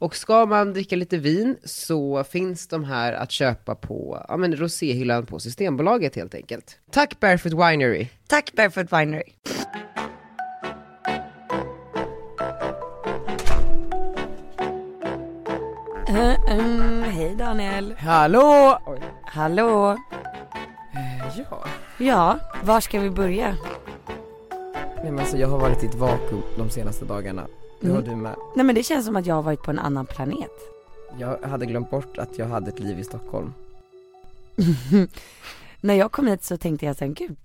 Och ska man dricka lite vin så finns de här att köpa på ja, men roséhyllan på Systembolaget helt enkelt. Tack Barefoot Winery! Tack Barefoot Winery. Äh, hej Daniel. Hallå! Hallå. Ja. Ja, var ska vi börja? Nej, men alltså, jag har varit i ett vakuum de senaste dagarna. Det har du med. Nej men det känns som att jag har varit på en annan planet. Jag hade glömt bort att jag hade ett liv i Stockholm. När jag kom hit så tänkte jag sen, gud,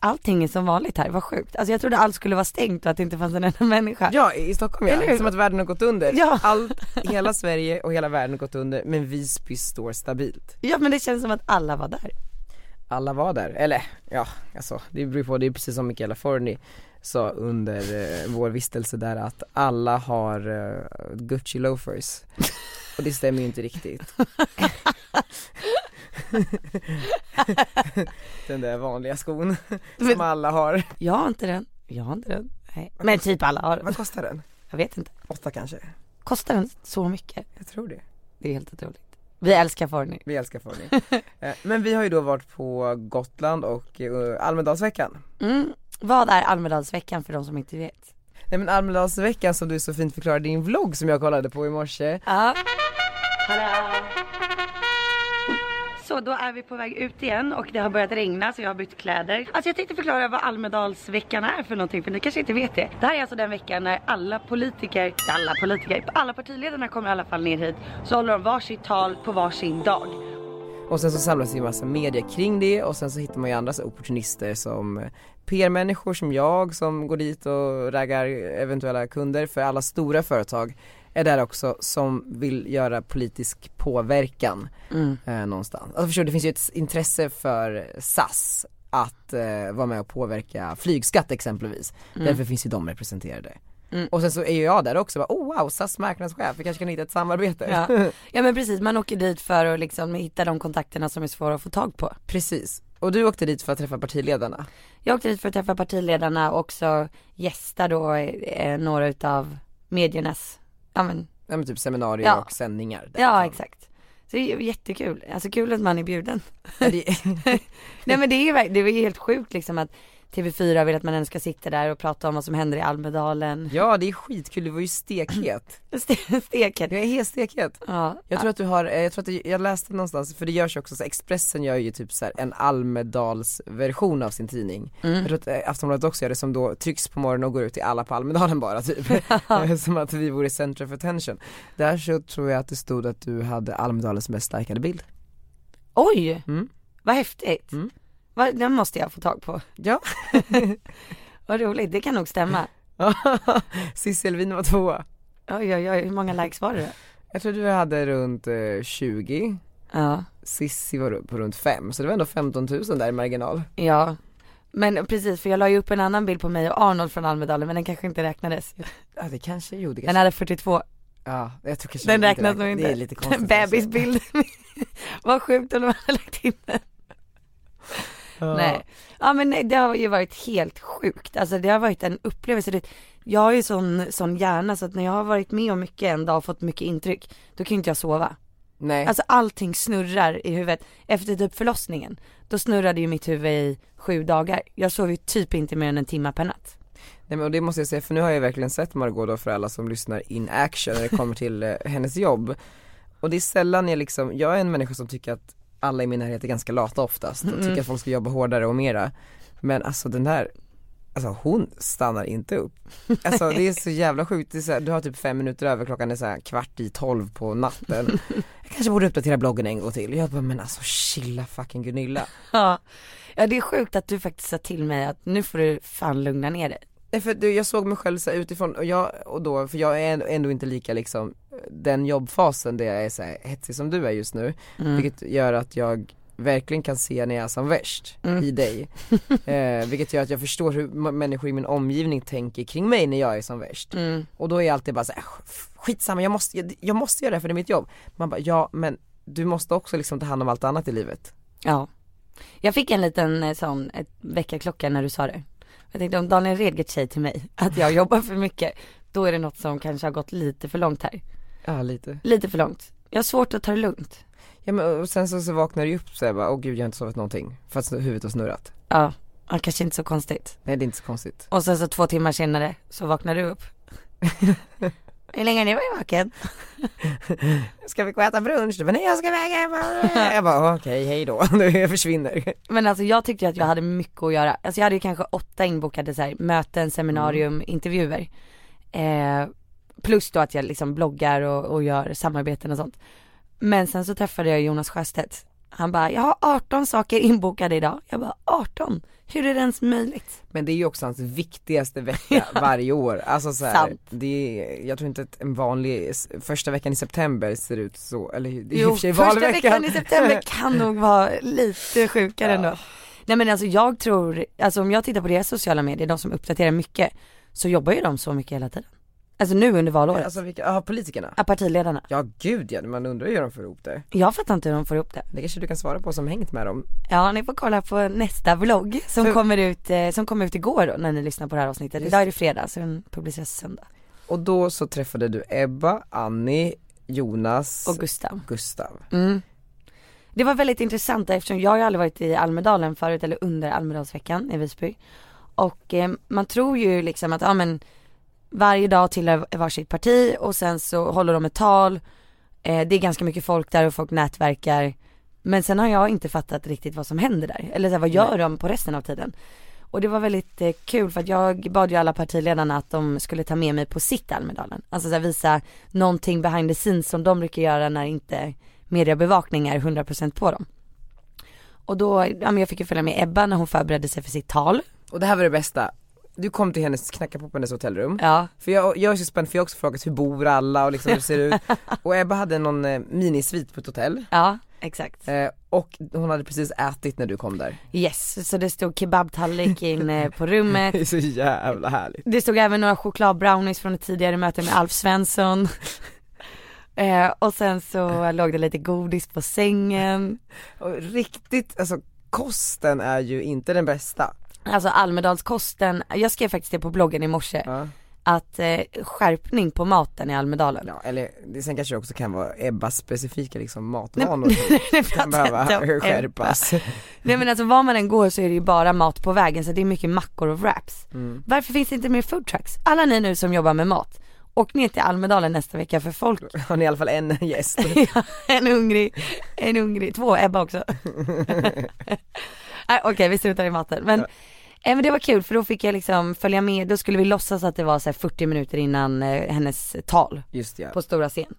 allting är som vanligt här, vad sjukt. Alltså jag trodde allt skulle vara stängt och att det inte fanns en enda människa. Ja, i Stockholm Eller hur? Som att världen har gått under. Ja. Allt, hela Sverige och hela världen har gått under, men Visby står stabilt. Ja men det känns som att alla var där. alla var där, eller ja, alltså det beror på, det är precis som Michaela Forni sa under eh, vår vistelse där att alla har eh, Gucci loafers och det stämmer ju inte riktigt. Den där vanliga skon som Men- alla har. Jag har inte den, jag har inte den. Nej. Men typ alla har den. Vad kostar den? Jag vet inte. Åtta kanske? Kostar den så mycket? Jag tror det. Det är helt otroligt. Vi älskar Forni. Vi älskar Forni. Eh, Men vi har ju då varit på Gotland och eh, Almedalsveckan. Mm. Vad är Almedalsveckan för de som inte vet? Nej men Almedalsveckan som du så fint förklarade i din vlogg som jag kollade på i morse Ja. Så då är vi på väg ut igen och det har börjat regna så jag har bytt kläder. Alltså jag tänkte förklara vad Almedalsveckan är för någonting för ni kanske inte vet det. Det här är alltså den veckan när alla politiker, alla politiker, alla partiledarna kommer i alla fall ner hit så håller de varsitt tal på varsin dag. Och sen så samlas det ju massa media kring det och sen så hittar man ju andra så här opportunister som eh, PR-människor som jag som går dit och raggar eventuella kunder för alla stora företag är där också som vill göra politisk påverkan eh, någonstans. Alltså förstår du, det finns ju ett intresse för SAS att eh, vara med och påverka flygskatt exempelvis. Därför finns ju de representerade. Och sen så är ju jag där också, bara, oh wow, SAS marknadschef, vi kanske kan hitta ett samarbete. Ja. ja men precis, man åker dit för att liksom hitta de kontakterna som är svåra att få tag på. Precis. Och du åkte dit för att träffa partiledarna. Jag åkte dit för att träffa partiledarna och också gästa då eh, några utav mediernas, ja men Ja men typ seminarier Ja. och sändningar. Ja exakt. Så det är ju jättekul, alltså kul att man är bjuden. Ja, det- Nej men det är ju verk- det är ju helt sjukt liksom att TV4 vill att man ens ska sitta där och prata om vad som händer i Almedalen. ja det är skitkul, du var ju stekhet. Ste- Steket. Jag är helt stekhet. Ja. Jag tror att du har, eh, jag tror att det, jag läste någonstans, för det görs ju också så Expressen gör ju typ så här en Almedalsversion av sin tidning. Mm. Jag tror att eh, Aftonbladet också gör det som då trycks på morgonen och går ut till alla på Almedalen bara typ. som att vi vore center of attention. Där så tror jag att det stod att du hade Almedalens mest likade bild. Oj! Mm. Vad häftigt. Vad, den måste jag få tag på. Ja. Vad roligt, det kan nog stämma. Sissel Wien var tvåa. Oj oj oj, hur många likes var det då? Jag tror du hade runt eh, 20 Ja. Sissi var på runt 5 så det var ändå 15 000 där i marginal. Ja. Men precis, för jag la ju upp en annan bild på mig och Arnold från Almedalen men den kanske inte räknades. Ja det kanske gjorde Den hade 42. Ja, jag tror kanske Den inte räknas nog inte. Det är lite konstigt. Bebisbild. Vad sjukt om de hade lagt in den. Ja. Nej. Ja men nej, det har ju varit helt sjukt. Alltså det har varit en upplevelse. Det- Jag har ju sån, sån hjärna så att när jag har varit med om mycket en dag och fått mycket intryck, då kan ju inte jag sova. Nej. Alltså allting snurrar i huvudet. Efter typ förlossningen, då snurrade ju mitt huvud i sju dagar. Jag sov ju typ inte mer än en timme per natt. Nej men och det måste jag säga för nu har jag verkligen sett Margot då för alla som lyssnar in action när det kommer till eh, hennes jobb. Och det är sällan jag liksom, jag är en människa som tycker att alla i min närhet är ganska lata oftast och tycker att folk ska jobba hårdare och mera. Men alltså den där, alltså hon stannar inte upp. Alltså det är så jävla sjukt, det är så här, du har typ fem minuter över, klockan är så här kvart i tolv på natten. Jag kanske borde uppdatera bloggen en gång till. Jag bara men alltså chilla fucking Gunilla. Ja. ja det är sjukt att du faktiskt sa till mig att nu får du fan lugna ner dig. Nej för du, jag såg mig själv så här utifrån och jag, och då, för jag är ändå- ändå inte lika liksom den jobbfasen där jag är så här hetsig som du är just nu, vilket gör att jag verkligen kan se när jag är som värst i dig. Eh, vilket gör att jag förstår hur ma- människor i min omgivning tänker kring mig när jag är som värst. Och då är jag alltid bara så här, "Sk- skitsamma jag måste, jag, jag måste göra det för det är mitt jobb. Man bara, ja men du måste också liksom ta hand om allt annat i livet. Ja. Jag fick en liten eh, sån ett väckarklocka när du sa det. Jag tänkte om Daniel Redgert säger till mig att jag jobbar för mycket, då är det något som kanske har gått lite för långt här. Ja lite. Lite för långt. Jag har svårt att ta det lugnt. Ja men och sen så, så vaknar du upp såhär bara, åh gud jag har inte sovit någonting. För att huvudet har snurrat. Ja, ja kanske inte så konstigt. Nej det är inte så konstigt. Och sen så två timmar senare så vaknar du upp. Hur länge har ni varit vaken? Ska vi gå och äta brunch? Du bara, nej jag ska väga hemma. Jag bara, okej hej då. jag försvinner. Men alltså jag tyckte ju att jag hade mycket att göra. Alltså jag hade ju kanske åtta inbokade så här, möten, seminarium, intervjuer. Eh, plus då att jag liksom bloggar och, och gör samarbeten och sånt. Men sen så träffade jag Jonas Sjöstedt. Han bara, jag har 18 saker inbokade idag. Jag bara, 18? Hur är det ens möjligt? Men det är ju också hans viktigaste vecka varje år, alltså så här, Sant. det är, jag tror inte att en vanlig, s- första veckan i september ser ut så, eller det är i och Jo, för sig första valveckan. veckan i september kan nog vara lite sjukare ändå. Nej men alltså jag tror, alltså om jag tittar på deras sociala medier, de som uppdaterar mycket, så jobbar ju de så mycket hela tiden. Alltså nu under valåret. Alltså vilka, ja politikerna? Ja, partiledarna. Ja gud ja, man undrar ju hur de får ihop det. Jag fattar inte hur de får ihop det. Det kanske du kan svara på som hängt med dem. Ja, ni får kolla på nästa vlogg som För- kommer ut, eh, som kommer ut igår då, när ni lyssnar på det här avsnittet. Idag är det fredag, så den publiceras söndag. Och då så träffade du Ebba, Annie, Jonas Och Gustav. Gustav. Mm. Det var väldigt intressant eftersom jag har ju aldrig varit i Almedalen förut eller under Almedalsveckan i Visby. Och eh, man tror ju liksom att, ja men varje dag tillhör varsitt parti och sen så håller de ett tal. Eh, det är ganska mycket folk där och folk nätverkar. Men sen har jag inte fattat riktigt vad som händer där. Eller så här, vad gör de på resten av tiden? Och det var väldigt eh, kul för att jag bad ju alla partiledarna att de skulle ta med mig på sitt Almedalen. Alltså så här, visa någonting behind the scenes som de brukar göra när inte mediebevakning är 100% på dem. Och då, ja men jag fick ju följa med Ebba när hon förberedde sig för sitt tal. Och det här var det bästa, du kom till hennes, knackade på på hennes hotellrum. Ja. För jag, jag är så spänd för jag har också frågat hur bor alla och liksom hur det ser ut. Och Ebba hade någon eh, minisvit på ett hotell. Ja, exakt. Eh, och hon hade precis ätit när du kom där. Yes, så det stod kebabtallrik in eh, på rummet. Det är så jävla härligt. Det stod även några chokladbrownies från ett tidigare möte med Alf Svensson. eh, och sen så låg det lite godis på sängen. Och riktigt, alltså kosten är ju inte den bästa. Alltså Almedalskosten, jag skrev faktiskt det på bloggen i morse, Ja. att eh, skärpning på maten i Almedalen. Ja, eller det sen kanske det också kan vara Ebbas specifika liksom matvanor Det som pratar kan jag inte behöva om. skärpas. eh, Nej men alltså var man än går så är det ju bara mat på vägen så det är mycket mackor och wraps. Mm. Varför finns det inte mer food trucks? Alla ni nu som jobbar med mat, åk ner till Almedalen nästa vecka för folk, Har ni i alla fall en gäst? en hungrig, en hungrig, två Ebba också. Nej, Okej vi struntar i maten men, eh, men det var kul för då fick jag liksom följa med, då skulle vi låtsas att det var så här 40 minuter innan eh, hennes tal Just ja. på stora scen.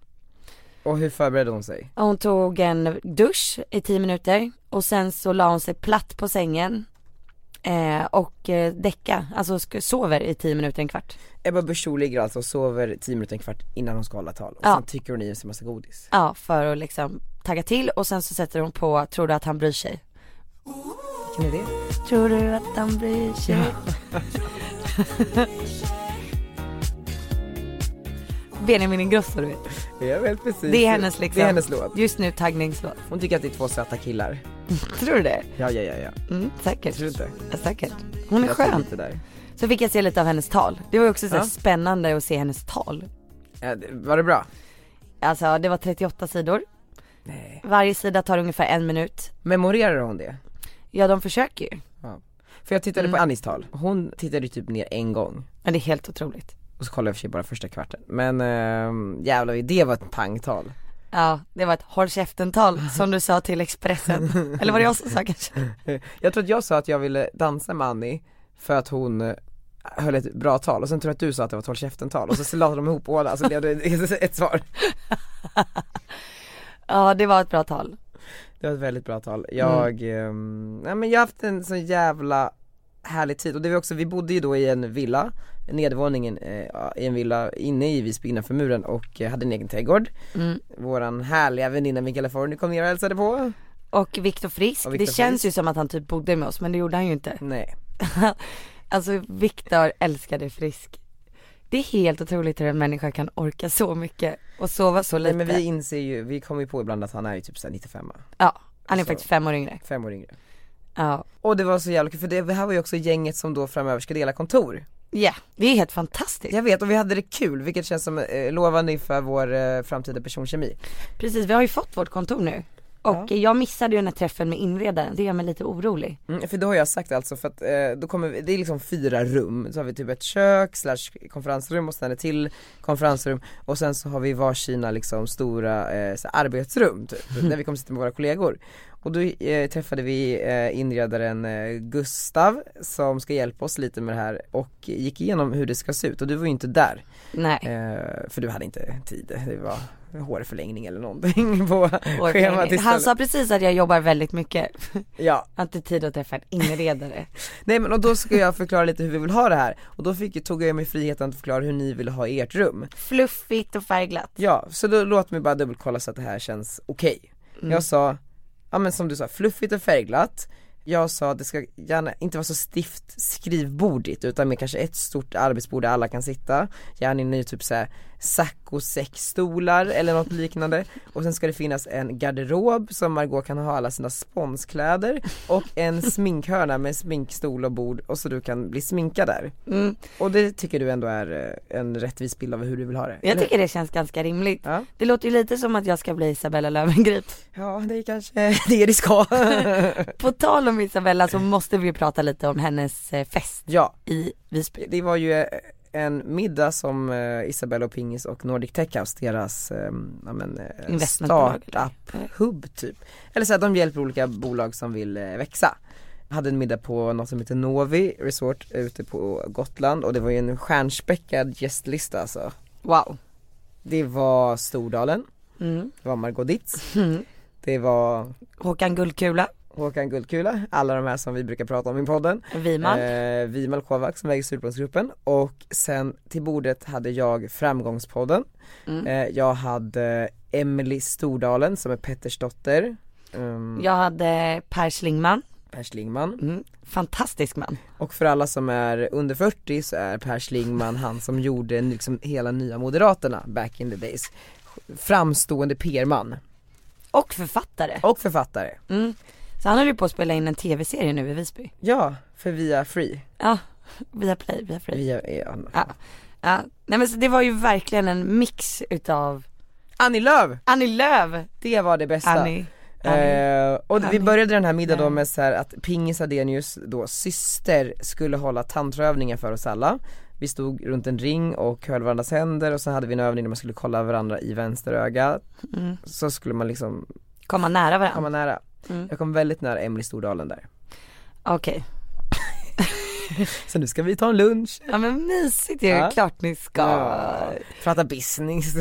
Och hur förberedde hon sig? Och Hon tog en dusch i 10 minuter och sen så la hon sig platt på sängen eh, och eh, däcka, alltså sk- sover i 10 minuter, en kvart. Ebba Busch Thor ligger alltså och sover 10 minuter, en kvart innan hon ska hålla tal. Och Ja. sen tycker hon i sig massa godis. Ja, för att liksom tagga till och sen så sätter hon på, tror du att han bryr sig? Vilken är det? Tror du att han bryr sig? Benjamin Ingrosso du vet. Jag vet precis. Det är hennes liksom, Det är hennes låt. just nu taggningslåt. Hon tycker att det är två söta killar. Tror du det? Ja, ja, ja, ja. Mm, säkert. Tror du inte? Ja, säkert. Hon är Jag tror skön. inte där. Så fick jag se lite av hennes tal. Det var ju också så här Ja. spännande att se hennes tal. Ja, det- Var det bra? Alltså det var 38 sidor. Varje sida tar ungefär en minut. Memorerar hon det? Ja de försöker ju. Ja. För jag tittade på Annis tal, hon tittade ju typ ner en gång Men det är helt otroligt. och så kollade jag i och för sig bara första kvarten Men äh, jävlar det var ett pangtal Ja, det var ett håll käften-tal som du sa till Expressen. Eller var det jag som sa kanske? Jag tror att jag sa att jag ville dansa med Annie för att hon eh, höll ett bra tal och sen tror jag att du sa att det var ett håll käften-tal och så lade de ihop båda så blev det ett- ett svar Ja, det var ett bra tal. Mm. Det var ett väldigt bra tal, jag, ehm, nej men jag har haft en så jävla härlig tid och det var också, vi bodde ju då i en villa, nedervåningen eh, ja, i en villa inne i Visby innanför muren och eh, hade en egen trädgård. Mm. Våran härliga väninna Mikaela Forni kom ner och hälsade på. Och Viktor Frisk, Och Viktor det känns Frisk. ju som att han typ bodde med oss men det gjorde han ju inte. Nej. Alltså Viktor älskade Frisk. Det är helt otroligt hur en människa kan orka så mycket och sova så Nej lite. men vi inser ju, vi kommer ju på ibland att han är ju typ såhär 95 Ja, han är Så. faktiskt fem år yngre. fem år yngre. Ja. Och det var så jävla kul för det här var ju också gänget som då framöver ska dela kontor. Ja, det är helt fantastiskt. Jag vet och vi hade det kul vilket känns som eh, lovande inför vår eh, framtida personkemi. Precis, vi har ju fått vårt kontor nu. Och jag missade ju den här träffen med inredaren, det gör mig lite orolig. Mm, för då har jag sagt alltså för att eh, då kommer vi, det är liksom fyra rum, så har vi typ ett kök slash konferensrum och sen ett till konferensrum och sen så har vi varsina liksom stora eh, så här arbetsrum typ, där vi kommer sitta med våra kollegor. Och då eh, träffade vi eh, inredaren eh, Gustav som ska hjälpa oss lite med det här och gick igenom hur det ska se ut och du var ju inte där. Nej. Eh, för du hade inte tid, det var hårförlängning eller någonting på Och- schemat Han istället. sa precis att jag jobbar väldigt mycket. Ja. Jag har inte tid att träffa en inredare. Nej men och då ska jag förklara lite hur vi vill ha det här och då fick, tog jag mig friheten att förklara hur ni vill ha ert rum. Fluffigt och färgglatt. Ja, så då, låt mig bara dubbelkolla så att det här känns okej. Mm. Jag sa, ja men som du sa, fluffigt och färgglatt. Jag sa att det ska gärna inte vara så stift skrivbordigt utan mer kanske ett stort arbetsbord där alla kan sitta. Gärna i ny typ såhär saccosäckstolar eller något liknande. Och sen ska det finnas en garderob som Margot kan ha alla sina sponskläder och en sminkhörna med sminkstol och bord och så du kan bli sminkad där. Mm. Och det tycker du ändå är eh, en rättvis bild av hur du vill ha det? Jag eller? tycker det känns ganska rimligt. Ja. Det låter ju lite som att jag ska bli Isabella Löwengrip. Ja det är kanske det det ska På tal om Isabella så måste vi prata lite om hennes eh, fest Ja, i Visby. det var ju eh, en middag som eh, Isabella och Pingis och Nordic Tech House, deras eh, ja, men, eh, Investmentbolag, eller? startup-hub typ Eller så här, de hjälper olika bolag som vill eh, växa hade en middag på något som heter Novi Resort ute på Gotland och det var ju en stjärnspäckad gästlista alltså Wow. Det var Stordalen, Mm. det var Margot Dietz, Mm. det var Håkan Guldkula, Håkan Guldkula, alla de här som vi brukar prata om i podden Wiman. Eh, Vimal Kovac som väger Surplånsgruppen och sen till bordet hade jag Framgångspodden. Mm. Eh, jag hade Emily Stordalen som är Petters dotter. Um, Jag hade Per Schlingman, Per Schlingman. mm. fantastisk man. Och för alla som är under 40 så är Per Schlingman han som gjorde liksom hela nya Moderaterna back in the days. Framstående PR-man Och författare. och författare. Mm. Så han höll ju på att spela in en tv-serie nu i Visby. Ja, för via Free. Ja, via Play, via Free. Via, ja. Ja. Ja. Nej men så det var ju verkligen en mix utav Annie Lööf, Annie Lööf, det var det bästa. Annie. Annie. Eh, och vi Annie. började den här middagen då Nej. med så här att Pingis Adenius då syster skulle hålla tantraövningar för oss alla Vi stod runt en ring och höll varandras händer och sen hade vi en övning där man skulle kolla varandra i vänsterögat Mm. Så skulle man liksom Komma nära varandra. komma nära Mm. Jag kom väldigt nära Emily Stordalen där Okej. Så nu ska vi ta en lunch, Ja men mysigt ju, Ja. klart ni ska. Ja. prata business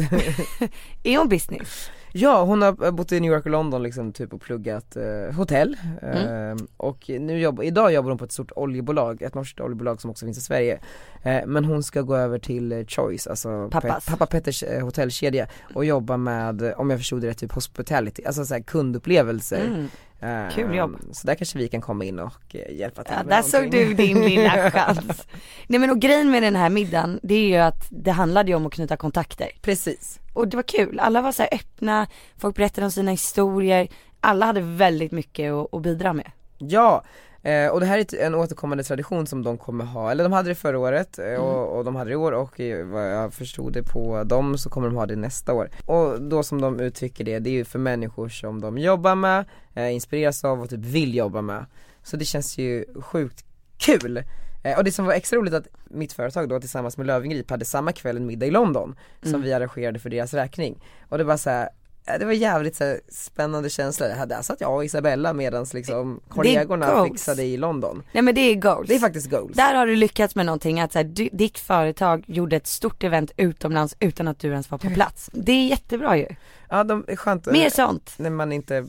Är hon business? Ja hon har bott i New York och London liksom typ och pluggat eh, hotell Mm. eh, och nu jobbar, idag jobbar hon på ett stort oljebolag, ett norskt oljebolag som också finns i Sverige eh, Men hon ska gå över till eh, Choice, alltså Pappas. Pe- pappa Petters eh, hotellkedja och jobba med, eh, om jag förstod det rätt, typ hospitality, alltså så här kundupplevelser Mm. Eh, kul jobb. Så där kanske vi kan komma in och eh, hjälpa till Ja, med där såg någonting. du din lilla chans. Nej men och grejen med den här middagen, det är ju att det handlade ju om att knyta kontakter. Precis, Och det var kul, alla var så här öppna, folk berättade om sina historier, alla hade väldigt mycket att, att bidra med. ja eh, och det här är ett- en återkommande tradition som de kommer ha, eller de hade det förra året eh, och, och de hade det i år och eh, vad jag förstod det på dem så kommer de ha det nästa år. Och då som de uttrycker det, det är ju för människor som de jobbar med, eh, inspireras av och typ vill jobba med. Så det känns ju sjukt kul! Eh, och det som var extra roligt att mitt företag då Mm. tillsammans med Lövengrip hade samma kväll en middag i London som vi arrangerade för deras räkning. Och det var så här, ja, det var jävligt så här, spännande känsla, här, där satt jag och Isabella medans liksom kollegorna goals. fixade i London. Nej men det är goals. Det är faktiskt goals. Där har du lyckats med någonting att så här, du, ditt företag gjorde ett stort event utomlands utan att du ens var Mm. på plats. Det är jättebra ju. Ja, de är skönt eh, Mer sånt. när man inte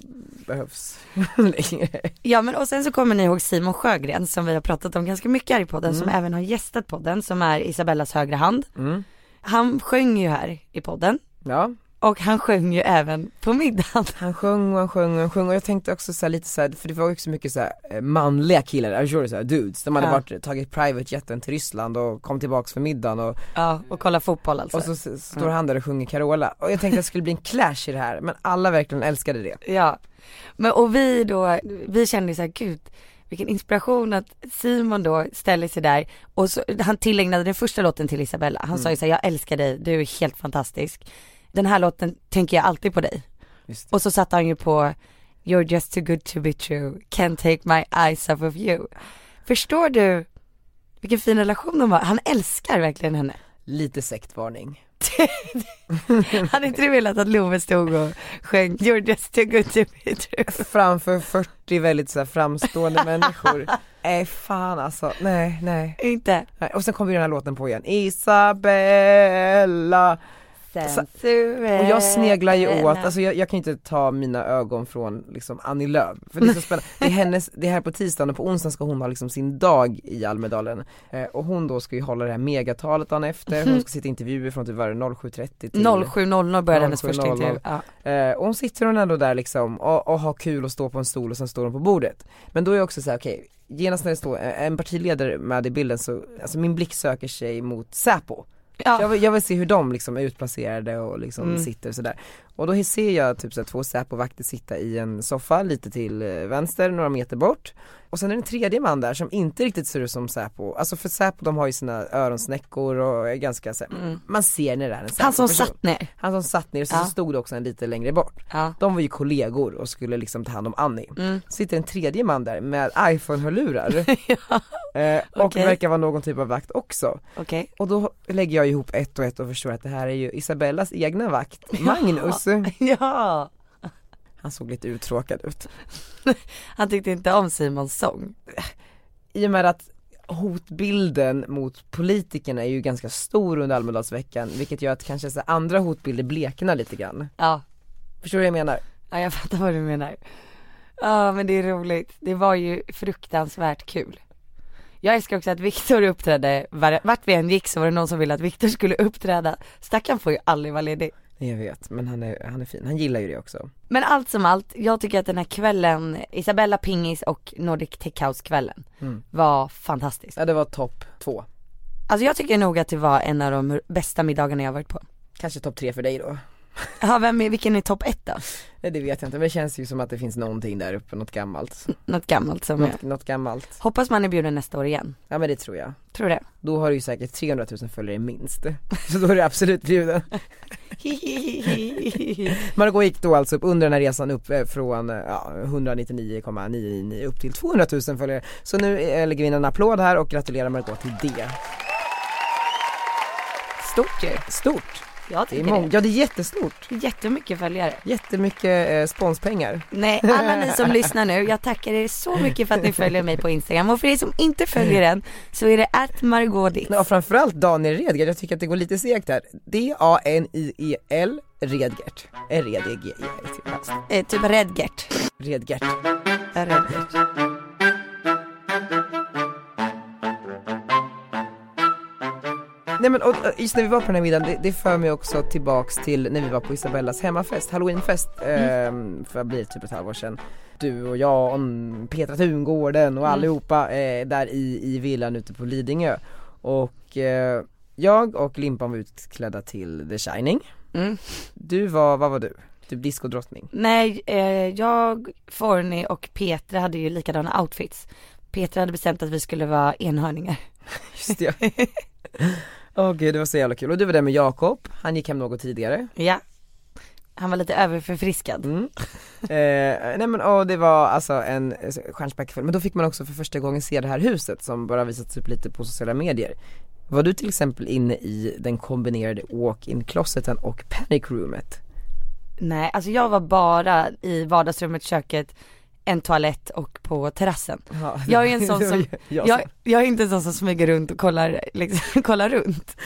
behövs längre. Ja men och sen så kommer ni ihåg Simon Sjögren som vi har pratat om ganska mycket här i podden som även har gästat podden som är Isabellas högra hand. Mm. Han sjöng ju här i podden Ja, och han sjöng ju även på middagen. han sjöng och han sjöng och han sjöng och jag tänkte också så här lite så här, för det var ju också mycket så här eh, manliga killar, I'm sure så här, dudes, de hade Ja. varit, tagit private jeten till Ryssland och kom tillbaks för middagen och, Ja och kolla fotboll alltså. och så s- står han där och sjunger Carola och jag tänkte att det skulle bli en clash i det här men alla verkligen älskade det. Ja. Men och vi då, vi kände ju så här, gud vilken inspiration att Simon då ställer sig där och så, han tillägnade den första låten till Isabella. Han sa ju så här, jag älskar dig, du är helt fantastisk. Den här låten tänker jag alltid på dig. Just Och så satte han ju på You're just too good to be true, can't take my eyes off of you. Förstår du vilken fin relation de har? Han älskar verkligen henne. Lite sektvarning. Hade inte du velat att Love stod och sjöng You're just too good to be true? Framför 40 väldigt så här framstående människor. Nej fan alltså, nej nej. Inte? nej. Och sen kom ju den här låten på igen, Isabella Sensuell. Alltså, Och Eh, jag sneglar ju åt, alltså jag, jag kan ju inte ta mina ögon från liksom Annie Lööf, för det är så spännande. Det är hennes, det är här på tisdagen och på onsdagen ska hon ha liksom sin dag i Almedalen. Eh, och hon då ska ju hålla det här megatalet dagen efter, hon ska sitta i intervjuer från typ vad är det, 07.30 till 07.00 började hennes 07.00. första intervju. Ja. Eh, och hon sitter hon ändå där liksom och, och har kul och står på en stol och sen står hon på bordet. Men då är jag också såhär, okej, genast när det står eh, en partiledare med i bilden så, alltså min blick söker sig mot Säpo. Ja. Jag, vill, jag vill se hur de liksom är utplacerade och liksom Mm. sitter sådär. Och då ser jag typ såhär, två Säpo-vakter sitta i en soffa lite till eh, vänster, några meter bort. Och sen är det en tredje man där som inte riktigt ser ut som Säpo, alltså för Säpo de har ju sina öronsnäckor och är ganska såhär, man ser när det är en Säpo Mm. Han som satt ner. han som satt ner, så, Ja. så stod det också en lite längre bort. Ja. De var ju kollegor och skulle liksom ta hand om Annie. Mm. Sitter en tredje man där med iPhone-hörlurar eh, och okej. verkar vara någon typ av vakt också. Okej. Och då lägger jag ihop ett och ett och förstår att det här är ju Isabellas egna vakt, Magnus. Ja. Han såg lite uttråkad ut. Han tyckte inte om Simons sång. I och med att hotbilden mot politikerna är ju ganska stor under Almedalsveckan vilket gör att kanske så här andra hotbilder bleknar lite grann. Ja. Förstår du vad jag menar? ja, jag fattar vad du menar. Ja, men det är roligt. Det var ju fruktansvärt kul. Jag älskar också att Viktor uppträdde, var- vart vi än gick så var det någon som ville att Viktor skulle uppträda. Stackarn får ju aldrig vara ledig. Jag vet, men han är, han är fin. Han gillar ju det också. Men allt som allt, jag tycker att den här kvällen, Isabella Pingis och Nordic Tech House kvällen Mm. var fantastisk. Ja det var topp två. Alltså jag tycker nog att det var en av de bästa middagarna jag varit på. Kanske topp tre för dig då? Ja, vem är, vilken är topp ett då? Nej det vet jag inte, men det känns ju som att det finns någonting där uppe, något gammalt. Något gammalt som jag. Något, något gammalt. Hoppas man är bjuden nästa år igen. Ja men det tror jag. Tror det. Då har du ju säkert 300 000 följare minst. Så då är du absolut bjuden. Margot gick då alltså upp under den här resan upp eh, från eh, ja, 199,999 upp till 200 000 följare. Så nu eh, lägger vi in en applåd här och gratulerar Margot till det. Stort ju. Stort! Jag Det är tycker det. mång- ja det är jättestort. Jättemycket följare. Jättemycket eh, sponspengar. Nej, alla ni som lyssnar nu, jag tackar er så mycket för att ni följer mig på Instagram. Och för er som inte följer den så är det att Nej, och framförallt Daniel Redgert, jag tycker att det går lite segt här. D-A-N-I-E-L E Redgert. E R-E-D-G-E-R-T. eh, typ Redgert. Redgert. Redgert. Nej men och, och just när vi var på den här middagen, det, det för mig också tillbaks till när vi var på Isabellas hemmafest, halloweenfest, eh, för det blir typ ett halvår sedan. Du och jag och mm, Petra Tungården och allihopa eh, där i, i villan ute på Lidingö. Och eh, jag och Limpan var utklädda till The Shining. Mm. Du var, vad var du? Typ discodrottning. Nej, eh, jag, Forni och Petra hade ju likadana outfits. Petra hade bestämt att vi skulle vara enhörningar. Just det. Åh gud det var så jävla kul. Och du var där med Jakob, han gick hem något tidigare. Ja. Han var lite överförfriskad. Mm. Eh, nej men åh, det var alltså en eh, stjärnspäckad Men då fick man också för första gången se det här huset som bara visats upp lite på sociala medier. Var du till exempel inne i den kombinerade walk-in-closeten och panic roomet? Nej, alltså jag var bara i vardagsrummet, köket, en toalett och på terrassen. Ja, Jag är en sån det var som- ju jag Jag, som- jag är inte en sån som smyger runt och kollar, liksom, kollar runt.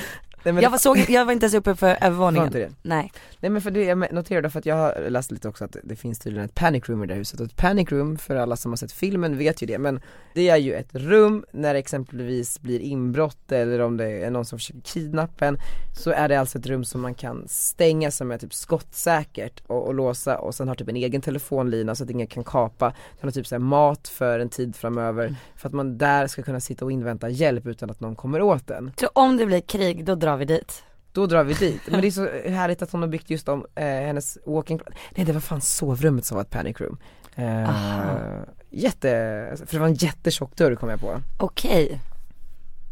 Nej, men jag, var såg, jag var inte ens uppe för Var övervåningen. inte det? Nej. Nej men för det, jag noterade för att jag har läst lite också att det finns tydligen ett panic room i det här huset och ett panic room för alla som har sett filmen vet ju det men det är ju ett rum när det exempelvis blir inbrott eller om det är någon som försöker kidnappa en så är det alltså ett rum som man kan stänga som är typ skottsäkert och, och låsa och sen har typ en egen telefonlina så att ingen kan kapa, den har typ så här mat för en tid framöver för att man där ska kunna sitta och invänta hjälp utan att någon kommer åt den. Så om det blir krig, då drar vi dit. Då drar vi dit, men det är så härligt att hon har byggt just om eh, hennes walking Nej det var fan sovrummet som var ett panic room eh, Aha. Jätte, för det var en jättetjock dörr kom jag på Okej.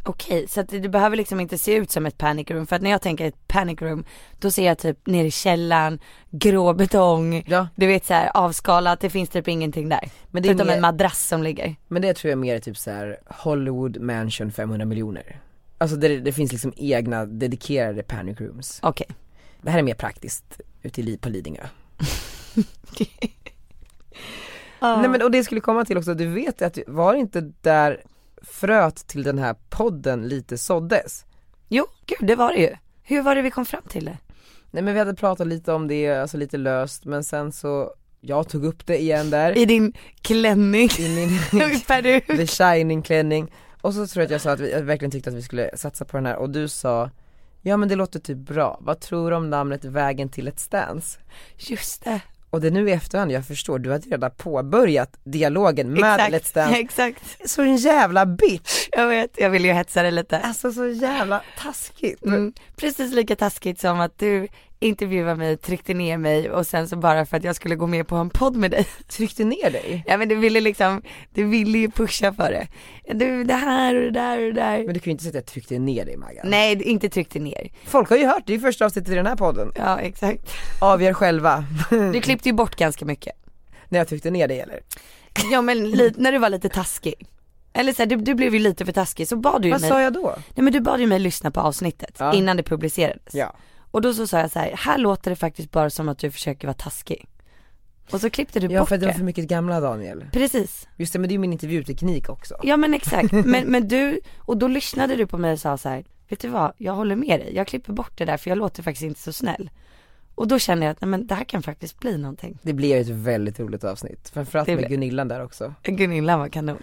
Okej, så att det, det behöver liksom inte se ut som ett panic room. För att när jag tänker ett panic room, då ser jag typ ner i källaren, grå betong, Ja du vet så här avskalat, det finns typ ingenting där. Men det, är Förutom mer, en madrass som ligger. men det tror jag mer är typ så här Hollywood Mansion 500 miljoner Alltså det, det finns liksom egna dedikerade panic rooms Okej. Det här är mer praktiskt ute i, Li- på Lidingö Nej men och det skulle komma till också, du vet att var inte där fröet till den här podden lite såddes? Jo, gud det var det ju. Hur var det vi kom fram till det? Nej men vi hade pratat lite om det, alltså lite löst, men sen så, jag tog upp det igen där I din klänning, i min i peruk. The Shining klänning och så tror jag att jag sa att vi, jag verkligen tyckte att vi skulle satsa på den här och du sa Ja men det låter typ bra, vad tror du om namnet Vägen till ett stans? Just det. Och det är nu i efterhand jag förstår, du hade redan påbörjat dialogen med Let's Dance Exakt. Så en jävla bitch! Jag vet, jag vill ju hetsa dig lite. Alltså så jävla taskigt! Mm. Precis lika taskigt som att du intervjuade mig, tryckte ner mig och sen så bara för att jag skulle gå med på en podd med dig. Tryckte ner dig? Ja men du ville liksom, du ville ju pusha för det. Du, det här och det där och det där. Men du kan ju inte säga att jag tryckte ner dig Maggan Nej, det- inte tryckte ner. Folk har ju hört, det är ju första avsnittet i den här podden Ja exakt. Avgör själva Du klippte ju bort ganska mycket. När jag tryckte ner dig eller? Ja men li- när du var lite taskig. Eller såhär, du, du blev ju lite för taskig så bad du ju Vad mig, sa jag då? nej men du bad ju mig lyssna på avsnittet Ja. innan det publicerades. Ja. Och då så sa jag så här, här låter det faktiskt bara som att du försöker vara taskig. Och så klippte du Ja bort för att det det. var för mycket gamla Daniel. Precis, Just det, men det är ju min intervjuteknik också. ja men exakt. Men, men du, och då lyssnade du på mig och sa så här, vet du vad, jag håller med dig, jag klipper bort det där för jag låter faktiskt inte så snäll. Och då kände jag att nej men det här kan faktiskt bli någonting. Det blev ett väldigt roligt avsnitt, framförallt Det med blev- Gunillan där också. Gunilla var kanon.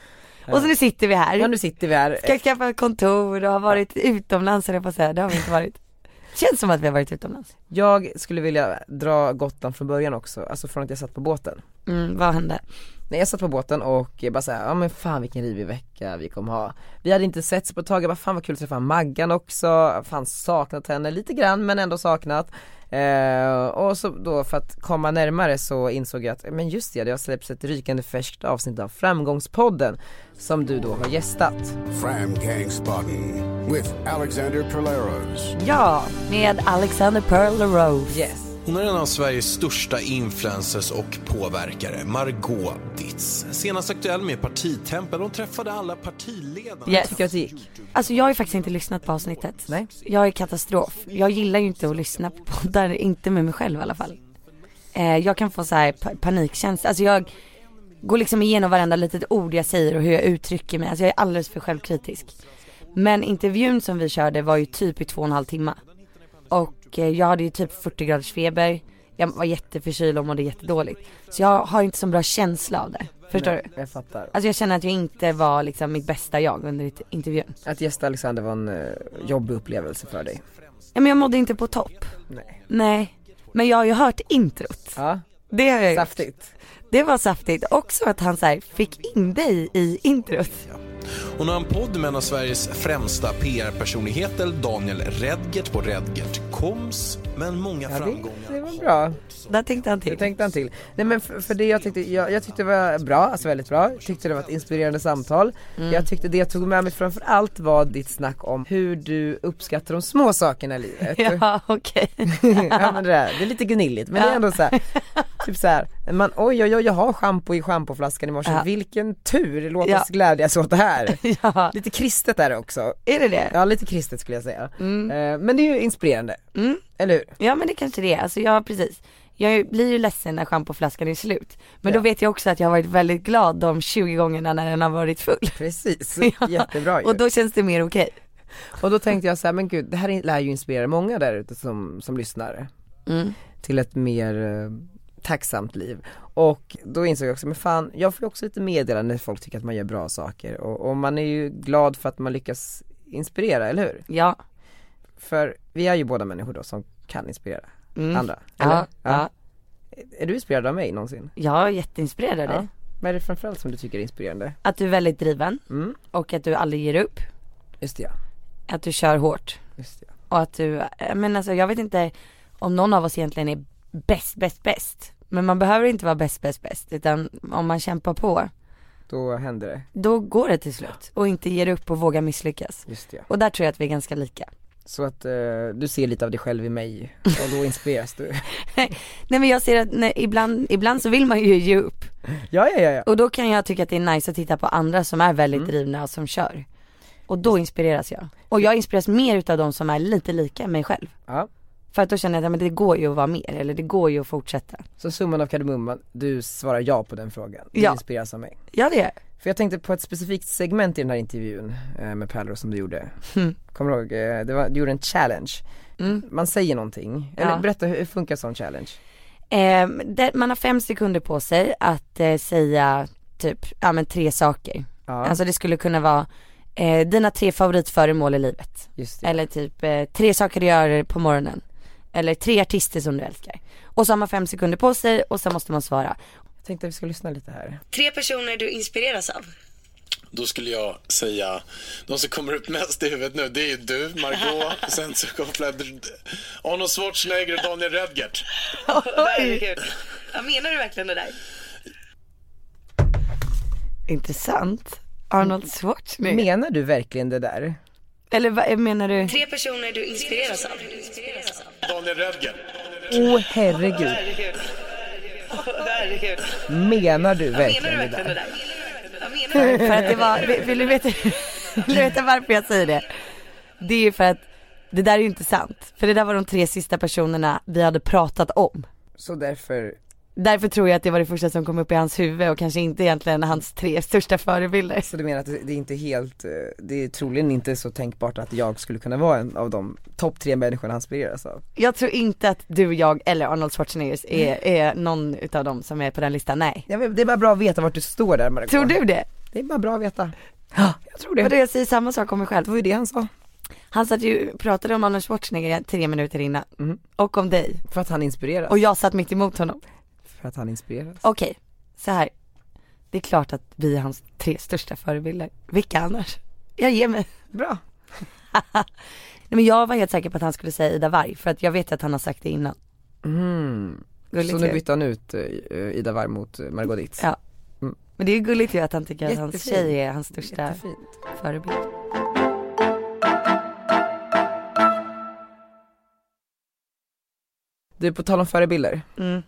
Och så nu sitter vi Ja här, nu sitter vi här, ska skaffa kontor och har varit utomlands höll jag på att säga, det har vi inte varit. Känns som att vi har varit utomlands. jag skulle vilja dra Gotland från början också, alltså från att jag satt på båten. Mm, vad hände? Nej jag satt på båten och bara såhär, ja men fan vilken rivig vecka vi kommer ha. Vi hade inte setts på ett tag, jag bara fan vad kul att träffa Maggan också, fan saknat henne lite grann men ändå saknat. Eh, och så då för att komma närmare så insåg jag att, men just det, det har släppts ett rykande färskt avsnitt av Framgångspodden som du då har gästat. Fram Gang Spotting with Alexander Perleros. Ja, med Alexander Pearl Rose. Yes. Hon är en av Sveriges största influencers och påverkare, Margot Ditz. Senast aktuell med Partitempel. Hon träffade alla partiledare. Yes. Tycker jag att det gick? Alltså jag har ju faktiskt inte lyssnat på avsnittet. Nej. Jag är katastrof. Jag gillar ju inte att lyssna på poddar, inte med mig själv i alla fall. Eh, jag kan få så här pa- panikkänsla, alltså jag går liksom igenom varenda litet ord jag säger och hur jag uttrycker mig. Alltså jag är alldeles för självkritisk. Men intervjun som vi körde var ju typ i två och en halv timme. Och eh, jag hade ju typ 40 graders feber. Jag var jätteförkyld och mådde jättedåligt. Så jag har inte så bra känsla av det. Förstår du? Jag fattar. Alltså jag känner att jag inte var liksom mitt bästa jag under int- intervjun. Att gästa Alexander var en eh, jobbig upplevelse för dig. Ja men jag mådde inte på topp. Nej. Nej. Men jag har ju hört introt. Ja, Det har jag gjort. saftigt. Det var saftigt. Också att han så här, fick in dig i introt. Hon har en podd med en av Sveriges främsta PR-personligheter, Daniel Redgert på Redgert Koms. Men många Ja, det, framgångar det var har- bra. Där tänkte han Det till. tänkte han till. Nej men för, för det jag tyckte, jag, jag tyckte det var bra, alltså väldigt bra. Jag tyckte det var ett inspirerande samtal. Mm. Jag tyckte det jag tog med mig framförallt var ditt snack om hur du uppskattar de små sakerna i livet. Ja okej. ja men det, där, det är lite gnilligt men det är ändå så här, Typ såhär, man oj oj oj jag har schampo i schampoflaskan i morse, Ja. vilken tur, låt oss Ja. glädjas åt det här. Ja, Lite kristet är det också. är det det? Mm. Ja lite kristet skulle jag säga. Eh, Men det är ju inspirerande, eller hur? Ja men det kanske det är, alltså jag, precis. Jag blir ju ledsen när schampoflaskan är slut. Men då Ja. vet jag också att jag har varit väldigt glad de 20 gångerna när den har varit full. Precis, Ja. jättebra ju. Och då känns det mer okej. Och då tänkte jag så här, men gud det här lär ju inspirera många där ute som, som lyssnar Mm. till ett mer eh, tacksamt liv. Och då insåg jag också, men fan jag får ju också lite meddelande när folk tycker att man gör bra saker och, och man är ju glad för att man lyckas inspirera, eller hur? Ja. För vi är ju båda människor då som kan inspirera Mm. andra, eller? Ja, ja. Är du inspirerad av mig någonsin? Jag är jätteinspirerad av dig. Vad är det framförallt som du tycker är inspirerande? Att du är väldigt driven Mm. och att du aldrig ger upp. Just det ja, Att du kör hårt. just det ja. Och att du, eh, men alltså jag vet inte om någon av oss egentligen är bäst, bäst, bäst. Men man behöver inte vara bäst, bäst, bäst. Utan om man kämpar på, Då händer det, då går det till slut. Och inte ger upp och vågar misslyckas. just det ja. Och där tror jag att vi är ganska lika. Så att eh, du ser lite av dig själv i mig och då inspireras du. Nej men jag ser att nej, ibland, ibland så vill man ju ge upp. Ja, ja, ja, ja. Och då kan jag tycka att det är nice att titta på andra som är väldigt drivna och som kör. Och då inspireras jag. Och jag inspireras mer utav de som är lite lika mig själv. ja. För att då känner jag att ja, men det går ju att vara mer, eller det går ju att fortsätta. Så summan av kardemumman, du svarar ja på den frågan. Du Ja. inspireras av mig. Ja det gör jag. För jag tänkte på ett specifikt segment i den här intervjun eh, med Pärlor som du gjorde. Mm. Kommer du ihåg? Eh, det var, du gjorde en challenge. Mm. Man säger någonting, Ja. eller berätta hur, hur funkar sån challenge? Eh, där, man har fem sekunder på sig att eh, säga typ, ja men tre saker. Ja, Alltså det skulle kunna vara eh, dina tre favoritföremål i livet. just det. Eller typ eh, tre saker du gör på morgonen. Eller tre artister som du älskar. Och så har man fem sekunder på sig och så måste man svara. Jag tänkte att vi ska lyssna lite här. Tre personer du inspireras av. Då skulle jag säga, de som kommer upp mest i huvudet nu, det är du, Margot, sen så kopplar jag Arnold Schwarzenegger och Daniel Redgert. Herregud. Ja, menar du verkligen det där? Intressant. Arnold Schwarzenegger. Menar du verkligen det där? Mm. Eller vad eh, menar du? Tre personer du inspireras av. Daniel Redgert. Åh oh, herregud, Herregud. Herregud. menar du Menar du verkligen det verkligen det där? där? Ja, menar du verkligen För att det var, vill, vill, du veta, vill du veta varför jag säger det? Det är ju för att det där är ju inte sant. För det där var de tre sista personerna vi hade pratat om. Så därför, Därför tror jag att det var det första som kom upp i hans huvud och kanske inte egentligen hans tre största förebilder. så du menar att det det är inte helt, eh, det är troligen inte så tänkbart att jag skulle kunna vara en av de topp tre människorna han inspireras av? Jag tror inte att du, jag eller Arnold Schwarzenegger Mm. är, är någon utav dem som är på den listan, nej. Ja, men det är bara bra att veta vart du står där Margot. Tror du det? Det är bara bra att veta. Jag tror det. Vadå, jag säger samma sak om mig själv. Det var ju det han sa. Han satt ju, pratade om Arnold Schwarzenegger tre minuter innan. Mm. Och om dig. För att han inspireras. Och jag satt mitt emot honom. För att han inspireras. Okej, så här. Det är klart att vi är hans tre största förebilder. Vilka annars? Jag ger mig. Bra. Nej, men jag var helt säker på att han skulle säga Ida Warg för att jag vet att han har sagt det innan. Mm. Gulligt Så nu ju. bytte han ut eh, Ida Warg mot eh, Margot Ditz. Ja. Mm. Men det är ju gulligt ju att han tycker att hans Jättefint. tjej är hans största Jättefint. förebild. Du, på tal om förebilder. Mm.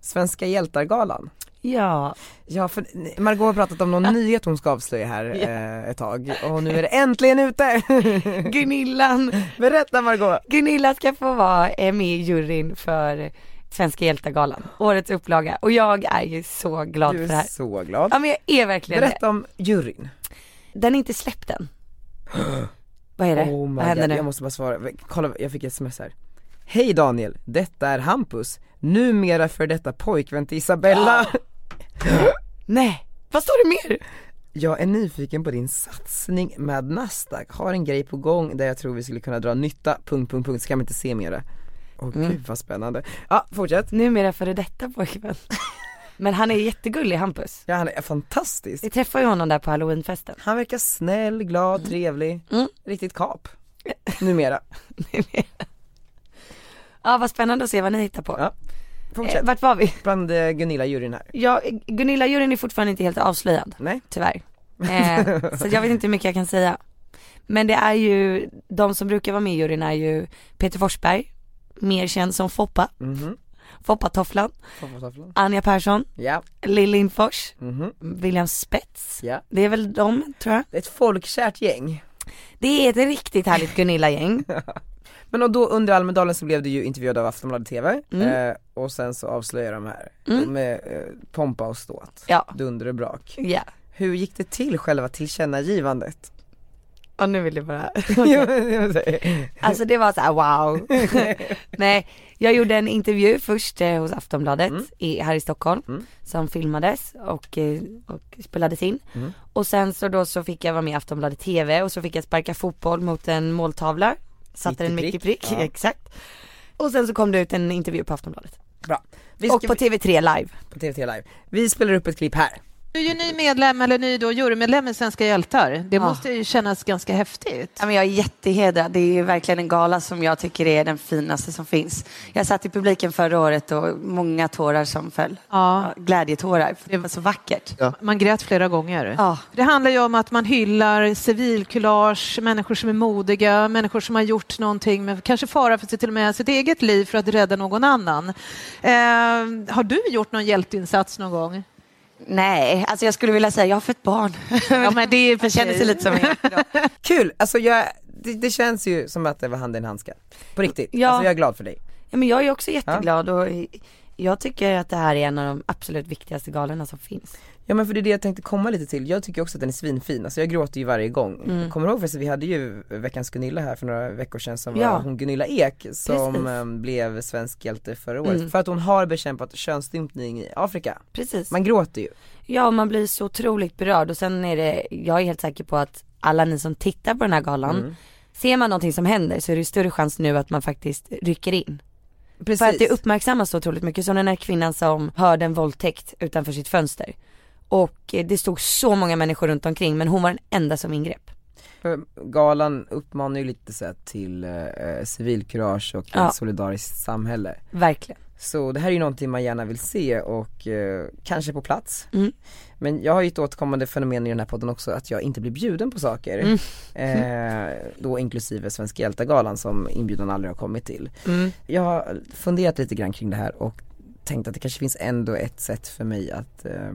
Svenska hjältargalan. Ja, Ja, för Margot har pratat om någon nyhet hon ska avslöja här eh, ett tag och nu är det äntligen ute! Gunillan, Berätta Margot! Gunilla ska få vara eh, med i juryn för Svenska hjältargalan, årets upplaga. Och jag är ju så glad Du för det är här. så glad. Ja men jag är verkligen det. Berätta om juryn. Den är inte släppt än. Vad är det? Oh my Vad händer God. nu? Jag måste bara svara, kolla jag fick ett sms här Hej Daniel, detta är Hampus, numera för detta pojkvän till Isabella Nej, vad står det mer? Jag är nyfiken på din satsning med Nasdaq, har en grej på gång där jag tror vi skulle kunna dra nytta, punkt, punkt, punkt, så kan man inte se mera Åh Mm. gud vad spännande. Ja, fortsätt. Numera före detta pojkvän. Men han är jättegullig Hampus. Ja han är Vi fantastisk. träffade ju honom där på halloweenfesten. Han verkar snäll, glad, Mm. trevlig, riktigt kap. Numera. Ja vad spännande att se vad ni hittar på. Ja. Eh, Fortsätt. vart var vi? Bland eh, Gunilla-juryn här. Ja, Gunilla-juryn är fortfarande inte helt avslöjad, Nej? tyvärr. Eh, så jag vet inte hur mycket jag kan säga. Men det är ju, de som brukar vara med i juryn är ju Peter Forsberg, mer känd som Foppa. Mhm. Foppatofflan, Foppatofflan. Anja Persson, Ja, Lill Lindfors, mhm, William Spets. ja. Det är väl de tror jag. Det är Ett folkkärt gäng. Det är ett riktigt härligt Gunilla-gäng. Men och då under Almedalen så blev du ju intervjuad av Aftonbladet TV eh, och sen så avslöjar de här med eh, pompa och ståt, Ja. dunder och brak. Ja. Hur gick det till själva tillkännagivandet? Och nu vill jag bara Ja, men jag säger- Alltså det var så här: wow. Nej, jag gjorde en intervju först eh, hos Aftonbladet Mm. i, här i Stockholm som filmades och, eh, och spelades in. Mm. Och sen så då så fick jag vara med i Aftonbladet TV och så fick jag sparka fotboll mot en måltavla. Satte Mitt i den mitt i prick. prick, Ja. exakt. Och sen så kom det ut en intervju på Aftonbladet. Bra. Vi Och ska- på TV3 live. på TVT live. Vi spelar upp ett klipp här. Du är ju ny medlem eller ny då jurymedlem i Svenska hjältar. Det måste ju kännas ganska häftigt. Ja, men jag är jättehedrad. Det är ju verkligen en gala som jag tycker är den finaste som finns. Jag satt i publiken förra året och många tårar som föll. Ja. Glädjetårar. Det var så vackert. Man grät flera gånger. Ja. Det handlar ju om att man hyllar civilkurage, människor som är modiga, människor som har gjort någonting med kanske fara för sig till och med sitt eget liv för att rädda någon annan. Eh, har du gjort någon hjälteinsats någon gång? Nej, alltså jag skulle vilja säga jag har fött barn. Ja, men det är Jag känner sig lite som en Kul! Alltså jag, det, det känns ju som att det var handen i handsken. På riktigt. Ja. Alltså jag är glad för dig. Ja men jag är också jätteglad och jag tycker att det här är en av de absolut viktigaste galorna som finns. Ja men för det är det jag tänkte komma lite till. Jag tycker också att den är svinfin. Alltså jag gråter ju varje gång. Mm. Kommer du ihåg förresten, vi hade ju veckans Gunilla här för några veckor sedan som var Ja. hon Gunilla Ek som Precis. Mm. eh, blev svensk hjälte förra året. För att hon har bekämpat könsstympning i Afrika. Precis. Man gråter ju. Ja, man blir så otroligt berörd och sen är det, jag är helt säker på att alla ni som tittar på den här galan, ser man någonting som händer så är det större chans nu att man faktiskt rycker in. Precis. För att det uppmärksammas så otroligt mycket, som den här kvinnan som hörde en våldtäkt utanför sitt fönster. Och eh, det stod så många människor runt omkring men hon var den enda som ingrep. För galan uppmanar ju lite så här till eh, civilkurage och Ja. ett solidariskt samhälle. Verkligen. Så det här är ju någonting man gärna vill se och eh, kanske på plats. Mm. Men jag har ju ett återkommande fenomen i den här podden också att jag inte blir bjuden på saker. Eh, då inklusive Svenska hjältar-galan som inbjudan aldrig har kommit till. Mm. Jag har funderat lite grann kring det här och tänkt att det kanske finns ändå ett sätt för mig att eh,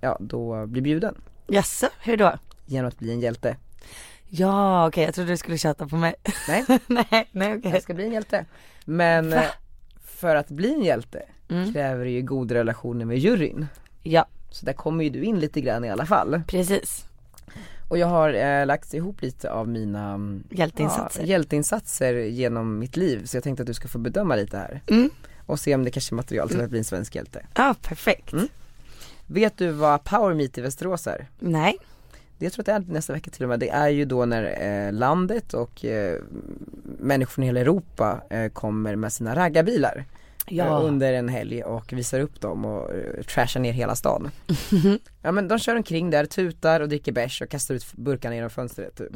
ja, då bli bjuden. Jaså, hur då? Genom att bli en hjälte. Ja, okej jag trodde du skulle tjata på mig. Nej, nej, nej okej. jag ska bli en hjälte. Men eh, för att bli en hjälte Mm. kräver det ju goda relationer med juryn. Ja, Så där kommer ju du in lite grann i alla fall. precis. Och jag har eh, lagt ihop lite av mina mm, Hjälteinsatser. Ja, hjälteinsatser genom mitt liv. Så jag tänkte att du ska få bedöma lite här. Mm. Och se om det kanske är material till att bli en svensk hjälte. Ja, perfekt. Vet du vad Power Meet i Västerås är? Nej. Det jag tror att det är nästa vecka till och med. Det är ju då när eh, landet och eh, människor från hela Europa eh, kommer med sina raggarbilar. eh, Ja. under en helg och visar upp dem och eh, trashar ner hela stan. ja men de kör omkring där, tutar och dricker bärs och kastar ut burkarna genom fönstret typ.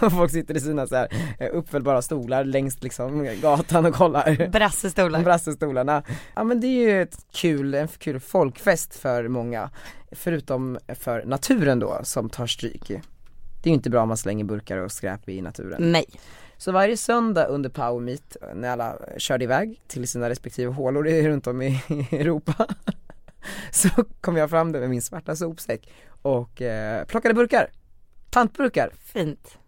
och folk sitter i sina så här eh, uppfällbara stolar längst liksom gatan och kollar. Brassestolar. Brassestolarna. Ja men det är ju ett kul, en kul folkfest för många. Förutom för naturen då som tar stryk. Det är ju inte bra om man slänger burkar och skräp i naturen. Nej. Så varje söndag under Power Meet när alla körde iväg till sina respektive hålor i- runt om i Europa så kom jag fram där med min svarta sopsäck och eh, plockade burkar, pantburkar. Fint.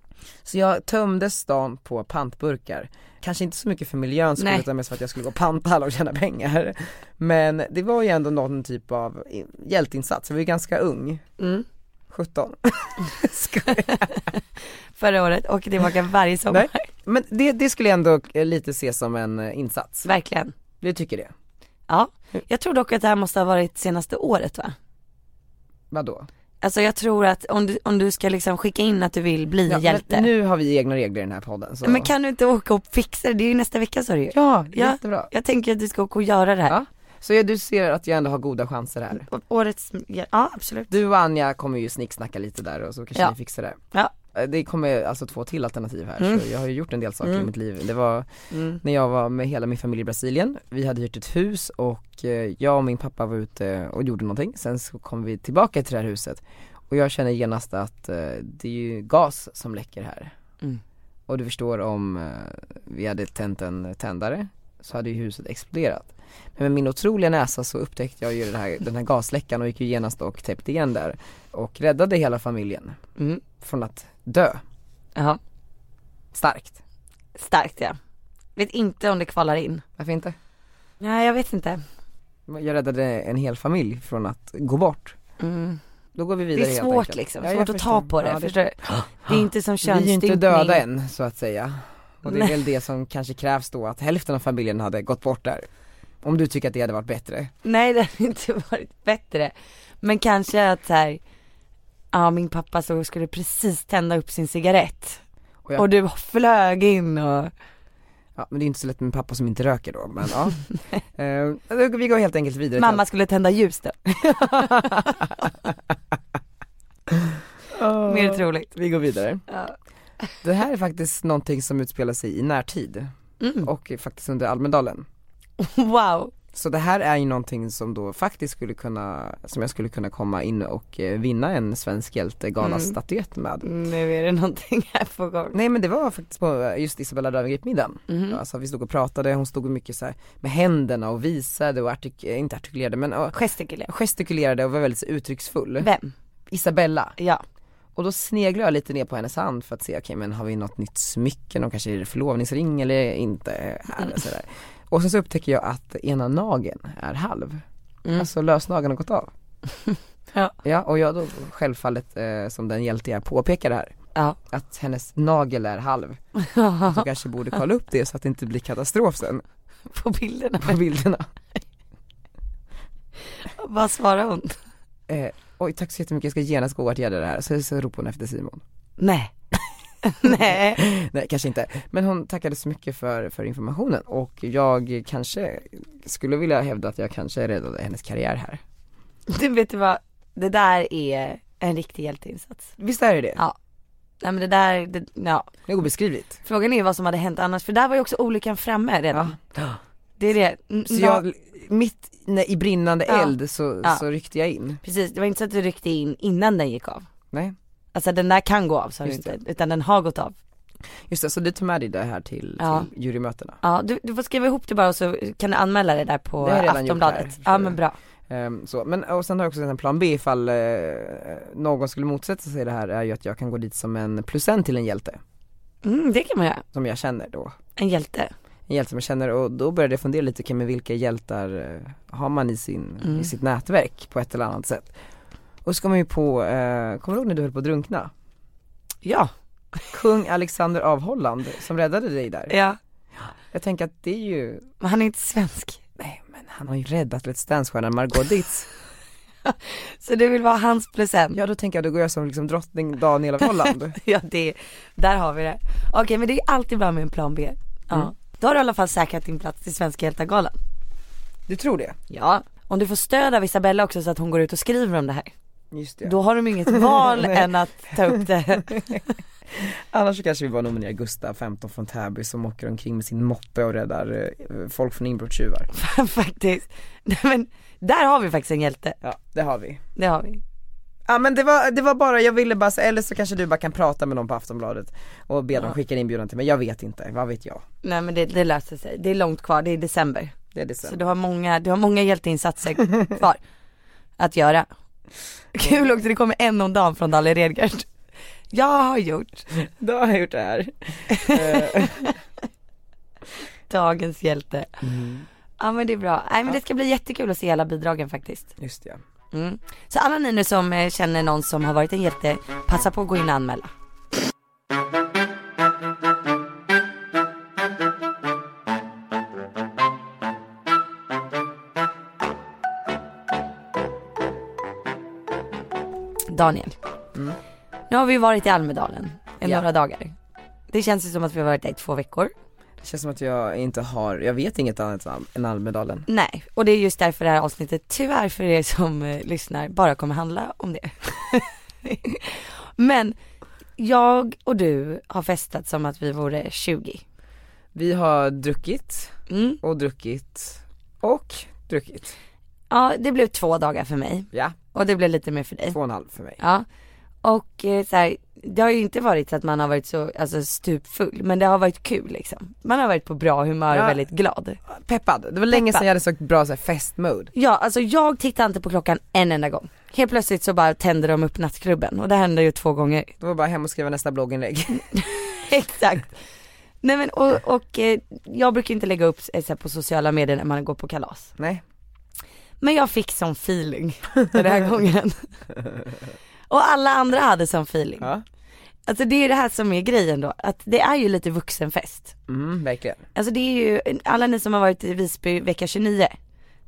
Så jag tömde stan på pantburkar. Kanske inte så mycket för miljöns skull Nej. utan mest för att jag skulle gå och panta alla och tjäna pengar. Men det var ju ändå någon typ av i- hjälteinsats, jag var ju ganska ung, Mm. 17. Förra året och tillbaka varje sommar. Men det, det skulle jag ändå eh, lite se som en eh, insats, Verkligen. du tycker det? Ja. Jag tror dock att det här måste ha varit senaste året va? Vadå? Alltså jag tror att om du, om du ska liksom skicka in att du vill bli Ja, hjälte. men Nu har vi egna regler i den här podden så. Men kan du inte åka och fixa det? Det är ju nästa vecka sa du ju. Ja, Ja. jättebra. Jag tänker att du ska åka och göra det här. Ja. Så ja, du ser att jag ändå har goda chanser här. Å- Årets, ja absolut. Du och Anja kommer ju snicksnacka lite där och så kanske Ja. ni fixar det. Ja. Eh, Det kommer alltså två till alternativ här så jag har ju gjort en del saker i mitt liv. Det var Mm. när jag var med hela min familj i Brasilien, vi hade hyrt ett hus och eh, jag och min pappa var ute och gjorde någonting, sen så kom vi tillbaka till det här huset och jag känner genast att eh, det är ju gas som läcker här. Mm. Och du förstår om eh, vi hade tänt en tändare så hade ju huset exploderat. Men med min otroliga näsa så upptäckte jag ju det här, den här gasläckan och gick ju genast och täppte igen där och räddade hela familjen Mm. från att dö. Jaha. Starkt. Starkt ja. Vet inte om det kvalar in. Varför inte? Nej jag vet inte. Jag räddade en hel familj från att gå bort. Mm. Då går vi Det vidare är helt svårt enkelt. liksom, Ja, jag svårt att ta förstår. på det. Ja, förstår du? Det är inte som Vi är ju könsstympning. inte döda än så att säga. Och det är Nej. väl det som kanske krävs då att hälften av familjen hade gått bort där. Om du tycker att det hade varit bättre. Nej det hade inte varit bättre. Men kanske att så här, ja min pappa så skulle precis tända upp sin cigarett. Och jag- Och du flög in och, Ja, men det är inte så lätt med pappa som inte röker då, men ja. Eh, då- vi går helt enkelt vidare. till- mamma skulle tända ljus då. Åh. Mer troligt. Vi går vidare. Ja. Det här är faktiskt någonting som utspelar sig i närtid Mm. och faktiskt under Almedalen. Wow. Så det här är ju någonting som då faktiskt skulle kunna, som jag skulle kunna komma in och eh, vinna en svensk hjältegalastatyett med. Mm, Nu är det någonting här på gång. Nej men det var faktiskt på eh, just Isabella Löwengrip-middagen. Mhm. Alltså vi stod och pratade, hon stod mycket så här med händerna och visade och artik- eh, inte artikulerade men eh, Gestikulera. gestikulerade och var väldigt uttrycksfull. Vem? Isabella. Ja. Och då sneglade jag lite ner på hennes hand för att se, okej men har vi något nytt smycke, någon kanske är det förlovningsring eller inte här och sådär. Och sen så upptäcker jag att ena nageln är halv, Mm. alltså lösnageln har gått av. Ja. Ja och jag då självfallet eh, som den hjälte jag påpekar det här, Ja. att hennes nagel är halv. Så kanske borde kolla upp det så att det inte blir katastrof sen på bilderna. på bilderna. Vad svarar hon? Eh, oj tack så jättemycket, jag ska genast gå och åtgärda det här. Så, så ropade hon efter Simon. Nej. Nej. Nej kanske inte, men hon tackade så mycket för, för informationen och jag kanske skulle vilja hävda att jag kanske räddade hennes karriär här. Du vet du vad, det där är en riktig hjälteinsats. Visst är det det? Ja. Nej men det där, det, ja. Det är obeskrivligt. Frågan är ju vad som hade hänt annars för där var ju också olyckan framme redan. Det är det. Mm, Så nå- jag, mitt när, i brinnande Ja. eld så, Ja. så ryckte jag in. Precis, det var inte så att du ryckte in innan den gick av. Nej. Alltså den där kan gå av sa du Just inte, utan den har gått av. Just det, så du tog med dig det här till, Ja. till jurymötena. Ja, du, du får skriva ihop det bara och så kan du anmäla det där på Det har jag redan gjort här, Aftonbladet. förstår Ja du. men bra. Ehm, så. Men, och sen har jag också en plan B ifall eh, någon skulle motsätta sig det här är ju att jag kan gå dit som en plus en till en hjälte. Mm, det kan man göra. Som jag känner då. En hjälte. En hjälte som jag känner och då började jag fundera lite kring vilka hjältar eh, har man i, sin, Mm. i sitt nätverk på ett eller annat sätt. Och så kom jag ju på, eh, kommer du ihåg när du höll på att drunkna? Ja. Kung Alexander av Holland som räddade dig där. Ja. Jag tänker att det är ju, Men han är inte svensk. nej men han har ju räddat Let's Dance-stjärnan Margot Dietz. Så du vill vara hans plus en? Ja då tänker jag, då går jag som liksom drottning Daniel av Holland. Ja det, där har vi det. Okej men det är alltid bra med en plan B. Ja. Mm. Då har du i alla fall säkrat din plats i Svenska hjältargalan. Du tror det? Ja. Om du får stöd av Isabella också så att hon går ut och skriver om det här. Just det. Då har de inget val Nej. än att ta upp det. Annars så kanske vi bara nominerar Gustav, 15 från Täby, som åker omkring med sin moppe och räddar eh, folk från inbrottstjuvar. faktiskt. Nej men, där har vi faktiskt en hjälte. Ja, det har vi. Det har vi. Ja men det var, det var bara, jag ville bara säga, eller så kanske du bara kan prata med någon på Aftonbladet och be dem skicka en inbjudan till mig, jag vet inte, vad vet jag? Nej men det, det löser sig. Det är långt kvar, det är december. Det är det Så sen. du har många, du har många hjälteinsatser kvar att göra. Kul också, det kommer en om dagen från Dalle Redgert. Jag har gjort Då har jag gjort det här. dagens hjälte. Mm. Ja men det är bra. Nej men det ska bli jättekul att se alla bidragen faktiskt. Just det, ja. Mm. Så alla ni nu som eh, känner någon som har varit en hjälte, passa på att gå in och anmäla. Daniel, nu har vi varit i Almedalen i Ja. några dagar. Det känns ju som att vi har varit där i två veckor. Det känns som att jag inte har, jag vet inget annat än- än Almedalen. Nej, och det är just därför det här avsnittet tyvärr för er som eh, lyssnar bara kommer handla om det. Men jag och du har festat som att vi vore 20. Vi har druckit Mm. och druckit och druckit. Ja, det blev två dagar för mig Ja, och det blev lite mer för dig. två och en halv för mig. Ja. Och eh, så här, det har ju inte varit så att man har varit så, alltså stupfull, men det har varit kul liksom. Man har varit på bra humör Ja. och väldigt glad. Peppad, det var länge Peppad. sedan jag hade sökt bra så här, festmode. Ja, alltså jag tittade inte på klockan en enda gång. Helt plötsligt så bara tände de upp nattklubben och det hände ju två gånger. Det var bara hem och skriva nästa blogginlägg. Exakt. Nej men och, och eh, jag brukar inte lägga upp eh, så här, på sociala medier när man går på kalas. Nej. Men jag fick sån feeling den här gången. Och alla andra hade sån feeling. Ja. Alltså det är det här som är grejen då, att det är ju lite vuxenfest. Mm, verkligen. Alltså det är ju, alla ni som har varit i Visby vecka 29,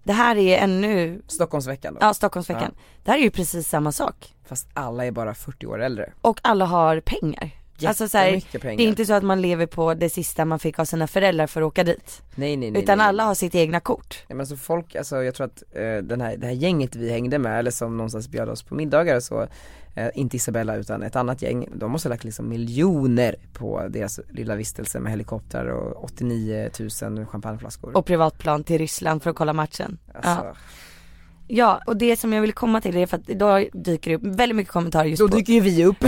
det här är ännu, Stockholmsveckan då. ja Stockholmsveckan, det här är ju precis samma sak. Fast alla är bara 40 år äldre. Och alla har pengar. Alltså så här, Jättemycket pengar. det är inte så att man lever på det sista man fick av sina föräldrar för att åka dit. Nej nej nej. utan nej. alla har sitt egna kort. Nej men alltså folk, alltså jag tror att eh, den här, det här gänget vi hängde med eller som någonstans bjöd oss på middagar och så, eh, inte Isabella utan ett annat gäng, de måste ha lagt liksom miljoner på deras lilla vistelse med helikoptrar och 89 000 champagneflaskor. Och privatplan till Ryssland för att kolla matchen. alltså, Ja. ja, och det som jag vill komma till är för att då dyker det upp väldigt mycket kommentarer just Då på dyker ju vi upp.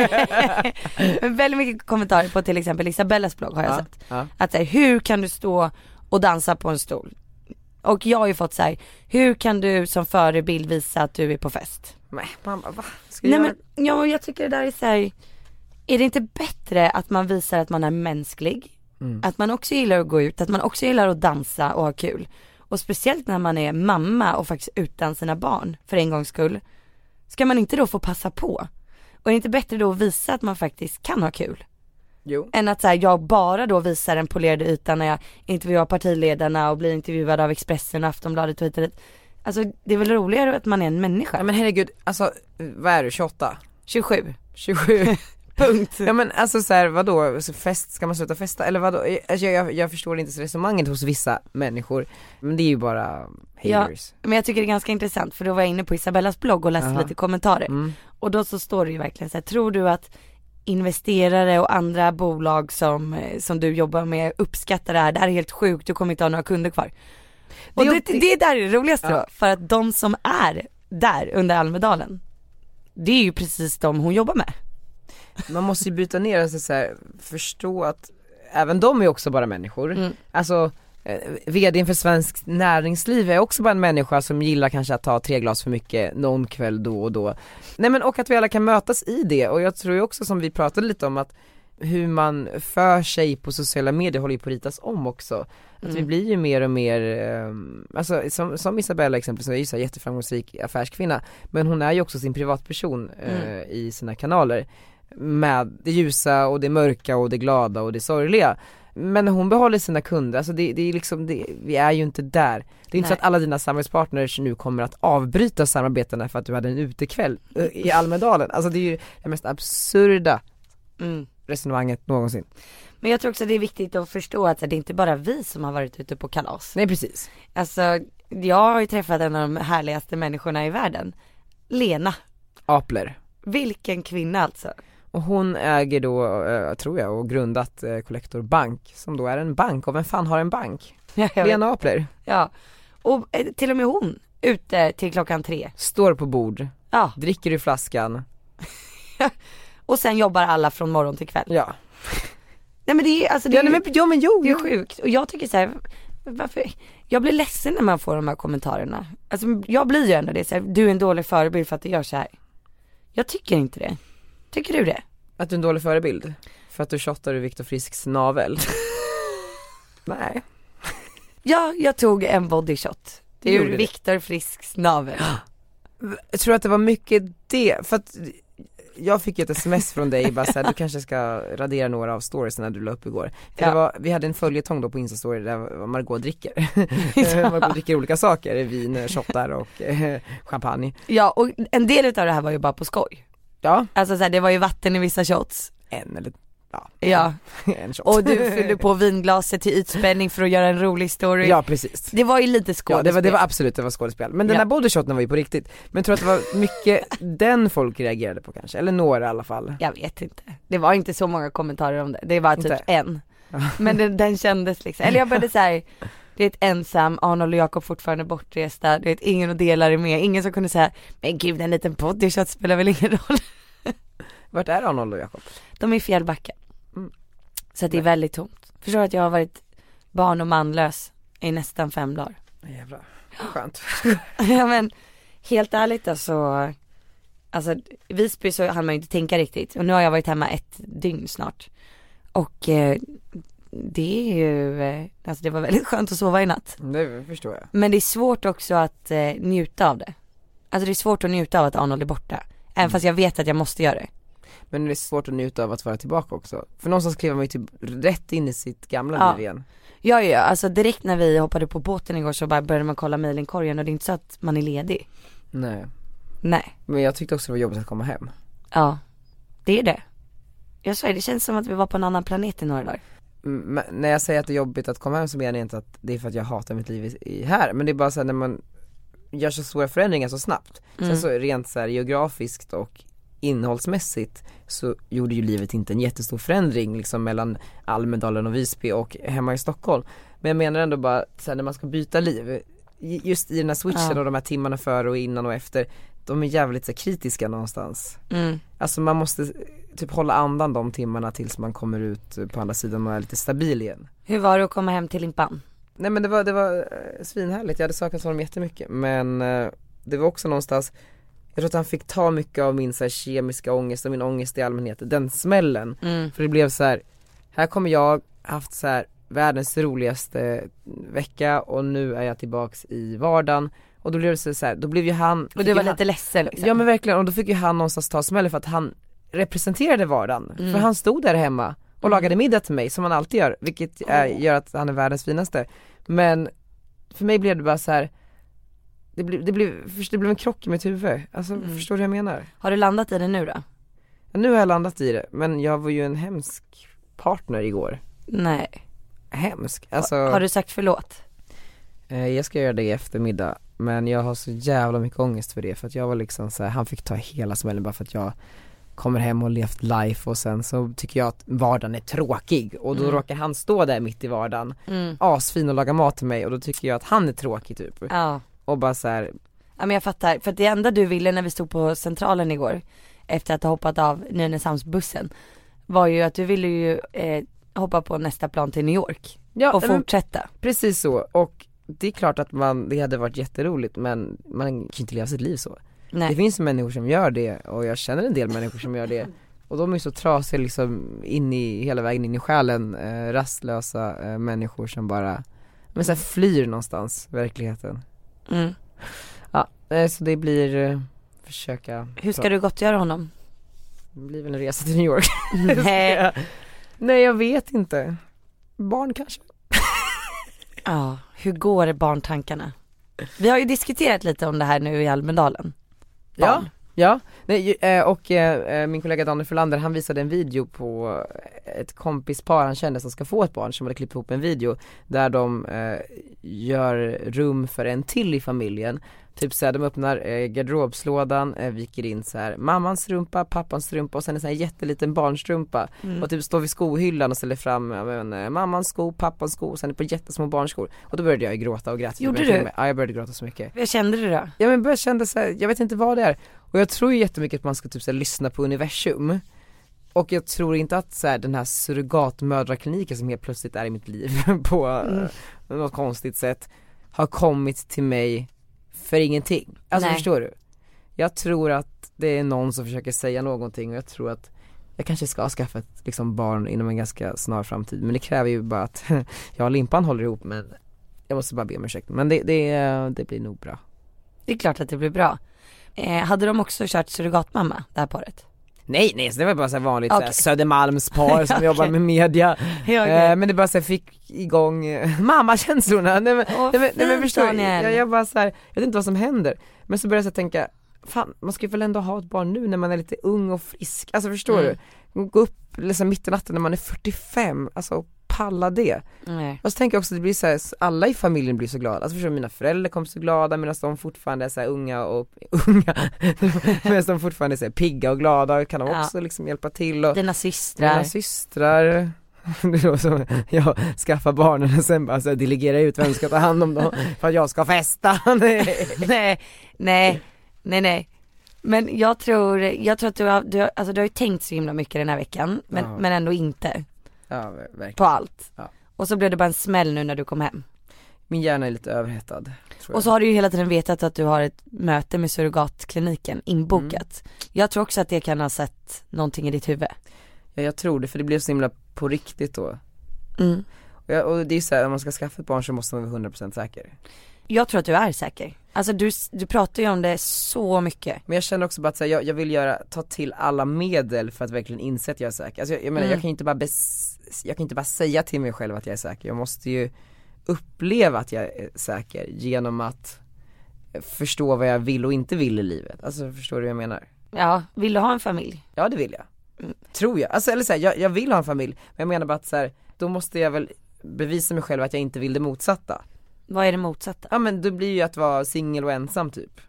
Men väldigt mycket kommentarer på till exempel Isabellas blogg har jag ja, sett. ja. Att så här, hur kan du stå och dansa på en stol? Och jag har ju fått så här, hur kan du som förebild visa att du är på fest? Nej, man bara, va? Ska Nej jag men, ja, jag tycker det där är så här, är det inte bättre att man visar att man är mänsklig? Mm. Att man också gillar att gå ut, att man också gillar att dansa och ha kul. Och speciellt när man är mamma och faktiskt utan sina barn för en gångs skull. Ska man inte då få passa på? Och är det inte bättre då att visa att man faktiskt kan ha kul? Jo. än att så här, jag bara då visar en polerad yta när jag intervjuar partiledarna och blir intervjuad av Expressen och Aftonbladet och hit och dit. Alltså det är väl roligare att man är en Ja, människa. men herregud, alltså vad är du, 28? 27. 27? Punkt. Ja men alltså så här, vadå, så fest, ska man sluta festa? Eller vadå? Alltså, jag, jag, jag förstår inte resonemanget hos vissa människor, men det är ju bara haters. Men jag tycker det är ganska intressant för då var jag inne på Isabellas blogg och läste Aha. lite kommentarer. Mm. Och då så står det ju verkligen så här, tror du att investerare och andra bolag som, eh, som du jobbar med uppskattar det här, det här är helt sjukt, du kommer inte ha några kunder kvar. Och Det- det, det, där är det roligaste Ja. då, för att de som är där under Almedalen, det är ju precis de hon jobbar med. Man måste ju bryta ner, alltså, så här, förstå att även de är också bara människor. Mm. Alltså eh, VDn för Svenskt Näringsliv är också bara en människa som gillar kanske att ta tre glas för mycket någon kväll då och då. Nej men och att vi alla kan mötas i det och jag tror ju också som vi pratade lite om att hur man för sig på sociala medier håller ju på att ritas om också. Att vi blir ju mer och mer, eh, alltså som, som Isabella exempelvis, hon är ju så här jätteframgångsrik affärskvinna men hon är ju också sin privatperson eh, Mm. i sina kanaler med det ljusa och det mörka och det glada och det sorgliga. Men hon behåller sina kunder, alltså det, det är liksom, det, vi är ju inte där. Det är inte så Nej. att alla dina samarbetspartners nu kommer att avbryta samarbetena för att du hade en utekväll eh, i Almedalen. Alltså det är ju det mest absurda Mm. resonemanget någonsin. Men jag tror också det är viktigt att förstå att så här, det är inte bara vi som har varit ute på kalas. Nej precis. Alltså, jag har ju träffat en av de härligaste människorna i världen, Lena. Apler. Vilken kvinna alltså. Och hon äger då, eh, tror jag, och grundat eh, Collector Bank som då är en bank och vem fan har en bank? Jag vet Lena Apler. Ja, och eh, till och med hon ute till klockan tre. Står på bord, Ja, dricker ur flaskan, och sen jobbar alla från morgon till kväll. ja. Nej men det är alltså det Ja är, nej, men, ja, men jo, det är sjukt och jag tycker så här, varför, jag blir ledsen när man får de här kommentarerna. Alltså jag blir ju ändå det så här, du är en dålig förebild för att du gör så här. Jag tycker inte det. Tycker du det? Att du är en dålig förebild? För att du shottar ur Viktor Frisks navel? Nej. Ja, jag tog en bodyshot. Det Gjorde är du? Viktor Frisks navel. Jag tror att det var mycket det, för att jag fick ju ett sms från dig bara såhär, du kanske ska radera några av storiesen du la upp igår. För Ja. det var, vi hade en följetong då på instastory där Margot dricker. Margot dricker olika saker, vin, shottar och eh, champagne. Ja, och en del av det här var ju bara på skoj. Ja, Alltså så här, det var ju vatten i vissa shots. en eller ja, Ja, en shot. och du fyllde på vinglaset till ytspänning för att göra en rolig story. Ja precis. Det var ju lite skådespel. Ja, det, var, det var absolut, det var skådespel. Men den Ja. där bodyshoten var ju på riktigt. Men jag tror att det var mycket den folk reagerade på kanske, eller några i alla fall. Jag vet inte. Det var inte så många kommentarer om det. Det var typ Inte? en. Men den, den kändes liksom. Eller jag började säga du vet ensam, Arnold och Jakob fortfarande bortresta, du vet ingen att dela det med, ingen som kunde säga, men gud en liten bodyshot spelar väl ingen roll. Vart är Arnold och Jakob? De är i Fjällbacka. Mm. Så att det är väldigt tomt. Förstår att jag har varit barn och manlös i nästan fem dagar. Jävlar, skönt. ja men helt ärligt alltså, alltså i Visby så hann man ju inte tänka riktigt och nu har jag varit hemma ett dygn snart. Och eh, det är ju, eh, alltså det var väldigt skönt att sova i natt. Det förstår jag. Men det är svårt också att eh, njuta av det. Alltså det är svårt att njuta av att Arnold är borta. Även fast jag vet att jag måste göra det. Men det är svårt att njuta av att vara tillbaka också. För någonstans kliver man ju typ rätt in i sitt gamla Ja. liv igen. Ja, ja, alltså direkt när vi hoppade på båten igår så bara började man kolla mejlinkorgen och det är inte så att man är ledig. Nej. Nej, Men jag tyckte också det var jobbigt att komma hem. ja. Det är det. Jag sa ju, det känns som att vi var på en annan planet i några dagar. Mm, Men när jag säger att det är jobbigt att komma hem så menar jag inte att det är för att jag hatar mitt liv i, i här. Men det är bara såhär när man gör så stora förändringar så snabbt. Mm. Sen så rent så här geografiskt och innehållsmässigt så gjorde ju livet inte en jättestor förändring liksom mellan Almedalen och Visby och hemma i Stockholm. Men jag menar ändå bara så här, när man ska byta liv, ju- just i den här switchen Ja. och de här timmarna före och innan och efter, de är jävligt så här, kritiska någonstans. Mm. Alltså man måste eh, typ hålla andan de timmarna tills man kommer ut eh, på andra sidan och är lite stabil igen. Hur var det att komma hem till Limpan? Nej men det var, det var eh, svinhärligt, jag hade saknat honom jättemycket men eh, det var också någonstans jag tror att han fick ta mycket av min så här, kemiska ångest och min ångest i allmänhet, den smällen. Mm. För det blev så här, här kommer jag, haft så här världens roligaste vecka och nu är jag tillbaks i vardagen. Och då blev det så så här, då blev ju han Och du var ju han- lite ledsen liksom. Ja men verkligen, och då fick ju han någonstans ta smällen för att han representerade vardagen. Mm. För han stod där hemma och lagade middag till mig som han alltid gör, vilket är, gör att han är världens finaste. Men för mig blev det bara så här. Det blev, det, blev, först- det blev en krock i mitt huvud, alltså Mm. förstår du vad jag menar? Har du landat i det nu då? Nu har jag landat i det, men jag var ju en hemsk partner igår. Nej. Hemsk, alltså Har du sagt förlåt? eh, jag ska göra det i eftermiddag men jag har så jävla mycket ångest för det för att jag var liksom så här, han fick ta hela smällen bara för att jag kommer hem och levt life och sen så tycker jag att vardagen är tråkig och då råkar han stå där mitt i vardagen, Mm. asfin och laga mat till mig och då tycker jag att han är tråkig typ Ja. och bara så här, Ja men jag fattar, för att det enda du ville när vi stod på centralen igår efter att ha hoppat av Nynäshamnsbussen var ju att du ville ju eh, hoppa på nästa plan till New York ja och nej, men fortsätta. precis så och det är klart att man, det hade varit jätteroligt men man kan ju inte leva sitt liv så. Det Nej. finns ju människor som gör det och jag känner en del människor som gör det och de är så trasiga liksom in i, hela vägen in i själen, eh, rastlösa eh, människor som bara, men så här flyr någonstans, verkligheten. Mm. Ja, eh, så det blir, eh, försöka, Hur ska du gottgöra honom? det blir väl en resa till New York. Nej. Nej jag vet inte. Barn kanske? Ja, hur går barntankarna? Vi har ju diskuterat lite om det här nu i Almedalen. Barn. Ja, nej, ju- eh, och eh, eh, min kollega Daniel Frölander han visade en video på eh, ett kompispar han kände som ska få ett barn som hade klippt ihop en video där de eh, gör rum för en till i familjen. Typ såhär, de öppnar eh, garderobslådan, eh, viker in såhär mammans strumpa, pappans strumpa och sen en sån här jätteliten barnstrumpa Mm. och typ står vid skohyllan och ställer fram ja, men, eh, mammans sko, pappans sko och sen är det på jättesmå barnskor. Och då började jag ju gråta och grät. Gjorde Jag började- du? Ja jag började gråta så mycket. Hur kände du då? Ja men jag kände så här, jag vet inte vad det är. Och jag tror ju jättemycket att man ska typ så här, lyssna på universum. Och jag tror inte att så här, den här surrogatmödrakliniken som helt plötsligt är i mitt liv på eh, något konstigt sätt har kommit till mig för ingenting. Alltså Nej. förstår du? Jag tror att det är någon som försöker säga någonting och jag tror att jag kanske ska skaffa ett liksom, barn inom en ganska snar framtid men det kräver ju bara att jag och Limpan håller ihop men jag måste bara be om ursäkt men det, det, eh, det blir nog bra. Det är klart att det blir bra. Eh, hade de också kört surrogatmamma, det här paret? Nej nej, så det var bara så här vanligt Okej. okay. Södermalmspar som Okej. jobbar med media, Ja, eh, men det bara så här, fick igång eh, mammakänslorna, nej men, Åh, nej, men, nej, men fint, förstår du? Daniel. jag, jag bara så här, jag vet inte vad som händer, men så började jag så här tänka, fan man ska ju väl ändå ha ett barn nu när man är lite ung och frisk, alltså förstår Mm. du? Gå upp liksom mitt i natten när man är 45, alltså och palla det. Nej. Och så tänker jag också att det blir så här, så alla i familjen blir så glada, alltså förstår du, mina föräldrar kom så glada medan de fortfarande är så här unga och, unga, medan de fortfarande är så här pigga och glada, kan de Ja. också liksom hjälpa till och Dina mina systrar. systrar, det låter som jag skaffar barnen och sen bara så här, delegerar ut vem som ska ta hand om dem för att jag ska festa, nej. nej, nej, nej, nej. Men jag tror, jag tror att du har, du, har- alltså du har ju tänkt så himla mycket den här veckan, men, Ja. men ändå inte Ja, ver- verkligen. på allt. Ja. Och så blev det bara en smäll nu när du kom hem. Min hjärna är lite överhettad. Tror Och så har du ju hela tiden vetat att du har ett möte med surrogatkliniken inbokat. Jag tror också att det kan ha sett någonting i ditt huvud. jag. Ja, jag tror det för det blev så himla på riktigt då. Mm. Och, jag, och det är ju så här, om man ska skaffa ett barn så måste man vara 100% säker. Jag tror att du är säker. Alltså du, du pratar ju om det så mycket. Men jag känner också bara att så här, jag, jag vill göra, ta till alla medel för att verkligen inse att jag är säker. Alltså jag, jag menar Mm. jag kan ju inte bara bes, jag kan inte bara säga till mig själv att jag är säker. Jag måste ju uppleva att jag är säker genom att förstå vad jag vill och inte vill i livet. Alltså förstår du vad jag menar? Ja, vill du ha en familj? Ja det vill jag. Mm. Tror jag. Alltså eller så här, jag, jag vill ha en familj men jag menar bara att så här, då måste jag väl bevisa mig själv att jag inte vill det motsatta. Vad är det motsatta? Ja men då blir ju att vara singel och ensam typ.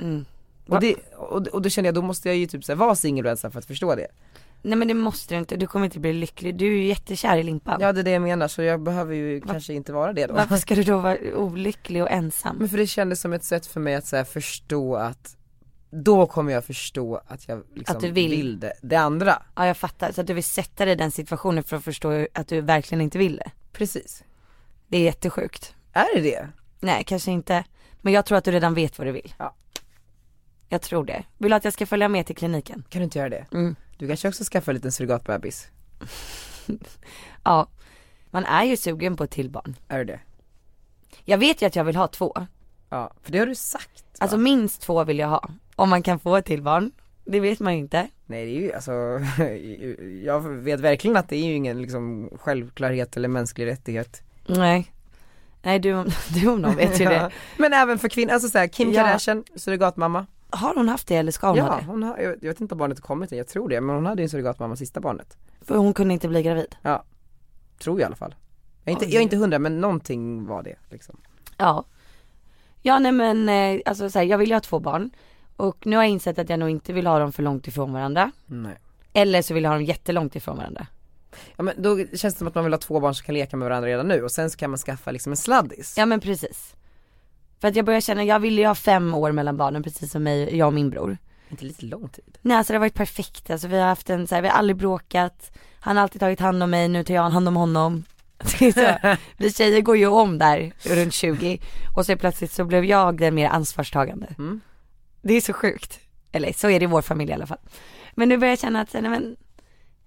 Mm. Va? Och, det, och, och då känner jag, då måste jag ju typ så här, vara singel och ensam för att förstå det. Nej men det måste du inte, du kommer inte bli lycklig. Du är ju jättekär i Limpan. Ja det är det jag menar så jag behöver ju kanske inte vara det då. Varför ska du då vara olycklig och ensam? Men för det kändes som ett sätt för mig att så här, förstå att då kommer jag förstå att jag liksom Att du vill. det, det andra. Ja jag fattar, så att du vill sätta dig i den situationen för att förstå att du verkligen inte vill det. Precis. Det är jättesjukt. Är det det? Nej kanske inte, men jag tror att du redan vet vad du vill. Ja. Jag tror det. Vill du att jag ska följa med till kliniken? Kan du inte göra det? Mm. Du kanske också skaffar en liten surrogatbebis? Ja. Man är ju sugen på ett till barn. Är du det? Jag vet ju att jag vill ha två. Ja, för det har du sagt va? Alltså minst två vill jag ha. Om man kan få ett till barn. Det vet man ju inte. Nej det är ju alltså, jag vet verkligen att det är ju ingen liksom självklarhet eller mänsklig rättighet Nej. Nej du, om- du om någon vet ju det. Men även för kvinnor, alltså såhär Kim Ja. Kardashian, surrogatmamma Har hon haft det eller ska hon ha Ja, det? hon har, jag jag vet inte om barnet har kommit än, jag tror det, men hon hade ju en surrogatmamma sista barnet För hon kunde inte bli gravid. Tror jag i alla fall Jag är inte, Oj. jag är inte hundra men någonting var det liksom Ja. Ja nej men eh, alltså så här, jag vill ju ha två barn. Och nu har jag insett att jag nog inte vill ha dem för långt ifrån varandra. Nej Eller så vill jag ha dem jättelångt ifrån varandra. Ja men då känns det som att man vill ha två barn som kan leka med varandra redan nu och sen så kan man skaffa liksom en sladdis Ja men precis. För att jag börjar känna, jag ville ju ha fem år mellan barnen precis som mig, jag och min bror. Inte lite lång tid Nej alltså det har varit perfekt, alltså vi har haft en så här, vi har aldrig bråkat, han har alltid tagit hand om mig, nu tar jag hand om honom. Det är så, vi tjejer går ju om där runt 20 och så plötsligt så blev jag den mer ansvarstagande. Mm. Det är så sjukt. Eller så är det i vår familj i alla fall. Men nu börjar jag känna att, så här, nej men,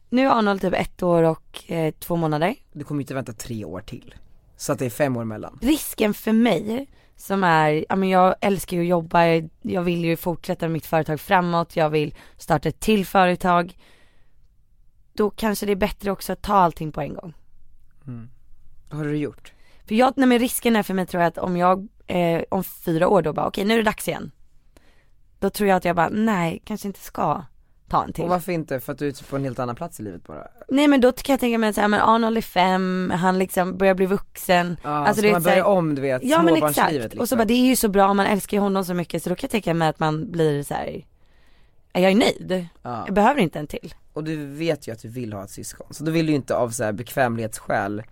nu är Arnold typ ett år och eh, två månader. Du kommer ju inte vänta tre år till Så att det är fem år mellan risken för mig som är, ja men jag älskar ju att jobba, jag- jag vill ju fortsätta mitt företag framåt, jag vill starta ett till företag. Då kanske det är bättre också att ta allting på en gång. Mm. Vad har du gjort? För jag, nej men risken är för mig tror jag att om jag, eh, om fyra år då bara okej nu är det dags igen. Då tror jag att jag bara nej, kanske inte ska ta en till. Och varför inte? För att du är typ på en helt annan plats i livet bara. Nej men då kan jag tänka mig såhär, men Arnold är fem, han liksom börjar bli vuxen. Ah, Alltså, alltså, ska du vet, man så här- börja om du vet, Ja men exakt, småbarnslivet liksom. och så bara det är ju så bra, man älskar ju honom så mycket så då kan jag tänka mig att man blir så här. "Ja, jag är nöjd, Ja. jag behöver inte en till. Och du vet ju att du vill ha ett syskon, så då vill du ju inte av så här bekvämlighetsskäl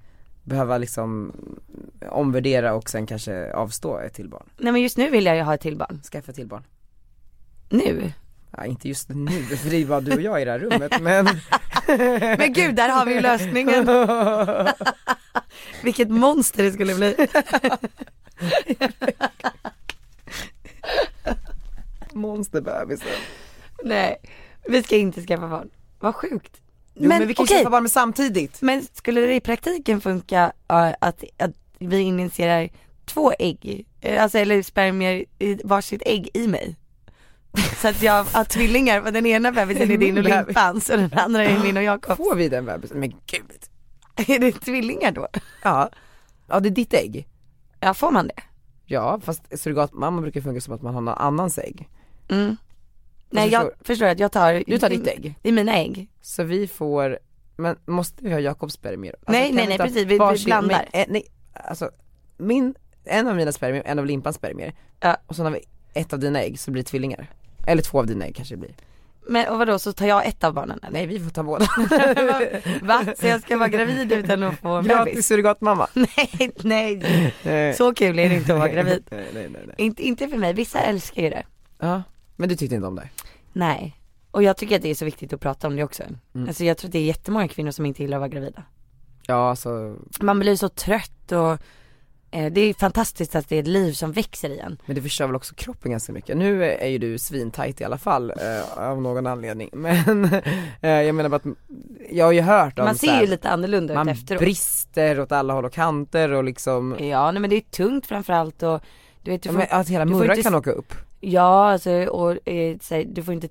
behöva liksom omvärdera och sen kanske avstå ett till barn. Nej men just nu vill jag ju ha ett till barn, Skaffa ett till barn. nu. Ja, inte just nu, för det är ju bara du och jag i det här rummet men Men gud, där har vi ju lösningen. Vilket monster det skulle bli. monsterbebisen. Nej, vi ska inte skaffa barn. Vad sjukt. Jo, men, men vi kan ju okej, skaffa barn med samtidigt. men skulle det i praktiken funka ja, att, att vi injicerar två ägg, eh, alltså eller spermier i varsitt ägg i mig? Så att jag har tvillingar, för den ena bebisen är din Min och bebis. Limpans och den andra är min och Jakobs. Får vi den bebisen? Men gud. Är det tvillingar då? Ja. Ja det är ditt ägg. Ja, får man det? Ja fast surrogatmamma brukar funka som att man har någon annans ägg. Mm. Nej jag förstår att jag tar, Du tar ditt ägg. det är mina ägg. Så vi får, men måste vi ha Jakobs spermier? Alltså, Nej, kan nej, vi nej, ta precis. Vi- vi varsin- blandar. Men, eh, nej, alltså min, en av mina spermier, en av Limpans spermier Ja. och sen har vi ett av dina ägg så blir det tvillingar. Eller två av dina ägg kanske det blir. Men och vadå, så tar jag ett av barnen eller? Nej vi får ta båda. Va? Så jag ska vara gravid utan att få en Gratis bebis? surrogatmamma. Nej, nej. Så kul är det inte att vara gravid. nej, nej, nej, nej. Inte, inte för mig, vissa älskar ju det. Ja. Men du tyckte inte om det? Nej. Och jag tycker att det är så viktigt att prata om det också. Mm. Alltså jag tror att det är jättemånga kvinnor som inte gillar att vara gravida. Ja alltså, Man blir så trött och eh, det är fantastiskt att det är ett liv som växer igen. men det förstör väl också kroppen ganska mycket. Nu är ju du svintajt i alla fall, eh, av någon anledning. Men eh, jag menar bara att, jag har ju hört om Man så ser här- ju lite annorlunda man ut efteråt. brister åt alla håll och kanter och liksom, Ja nej men det är tungt framförallt och du vet du ja, Eh, får, men att hela du får murran inte kan s- åka upp. ja alltså och eh, så här, du får inte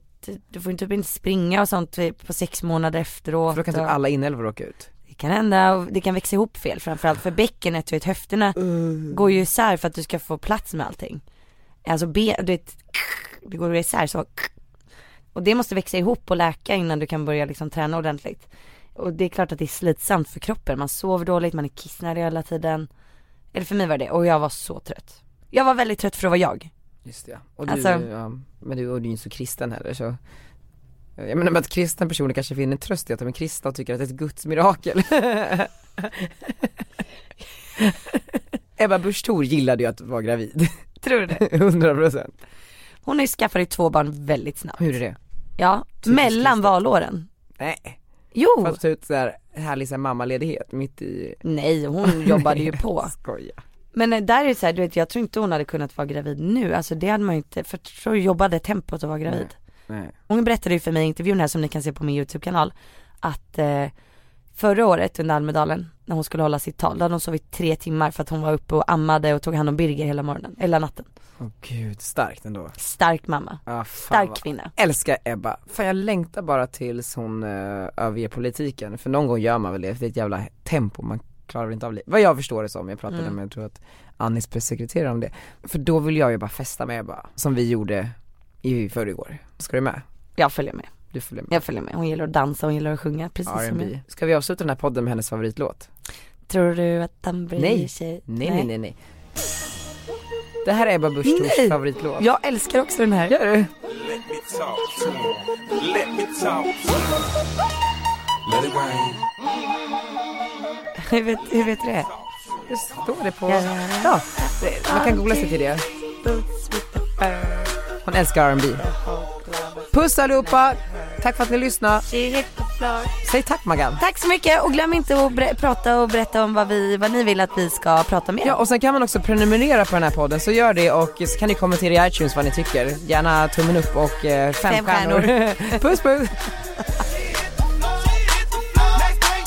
du får typ inte springa och sånt typ på sex månader efteråt. För då kan typ och alla inälvor åka ut. Det kan hända och det kan växa ihop fel framförallt för bäckenet, du vet höfterna går ju isär för att du ska få plats med allting. Alltså ben, du vet, det går isär så. Och det måste växa ihop och läka innan du kan börja liksom träna ordentligt. Och det är klart att det är slitsamt för kroppen, man sover dåligt, man är kissnödig hela tiden. Eller för mig var det och jag var så trött. Jag var väldigt trött för att vara jag. Just det, ja. Och du, Alltså- ja, men du, och du är ju inte så kristen heller så jag menar med att kristna personer kanske finner tröst i att de är kristna och tycker att det är ett Guds mirakel. Ebba Busch Thor gillade ju att vara gravid, Tror du det? 100% Hon har ju skaffat ju två barn väldigt snabbt. Hon gjorde det? Ja, mellan valåren. Nej, Jo! för att ta ut såhär härlig så här mammaledighet mitt i Nej, hon jobbade ju på. Skoja Men eh, där är det så här, du vet jag tror inte hon hade kunnat vara gravid nu, alltså det hade man ju inte, för så jobbade tempot att vara gravid. Nej. Hon berättade ju för mig i intervjun här som ni kan se på min YouTube-kanal, att eh, förra året under Almedalen, när hon skulle hålla sitt tal, då hade hon sovit tre timmar för att hon var uppe och ammade och tog hand om Birger hela morgonen, hela natten. Åh gud, starkt ändå Stark mamma, ah, fan stark vad- kvinna. Älskar Ebba, fan jag längtar bara tills hon eh, överger politiken, för någon gång gör man väl det, för det är ett jävla tempo, man klarar väl inte av det. Vad jag förstår det som, jag pratade Mm. med, jag tror att Annis pressekreterare om det. För då vill jag ju bara festa med Ebba, som vi gjorde i förrgår. Ska du med? Jag följer med, Du följer med. jag följer med. Hon gillar att dansa, hon gillar att sjunga, precis som jag. R&B. Ska vi avsluta den här podden med hennes favoritlåt? Tror du att han bryr Nej. sig? Nej nej nej nej. Det här är Ebba Busch Thors Nej. favoritlåt. Jag älskar också den här. Gör du? Let me talk to him. Let me talk to him. Let it rain. Hur vet, hur vet du det? Det står det på... Ja, det- man kan googla sig till det. Hon älskar R&B. Puss allihopa! Tack för att ni lyssnade. Säg tack Maggan. Tack så mycket och glöm inte att bre- prata och berätta om vad, vi, vad ni vill att vi ska prata mer Ja, om. och sen kan man också prenumerera på den här podden, så gör det och så kan ni kommentera i iTunes vad ni tycker. Gärna tummen upp och eh, fem, Fem stjärnor. stjärnor. puss puss! Next thing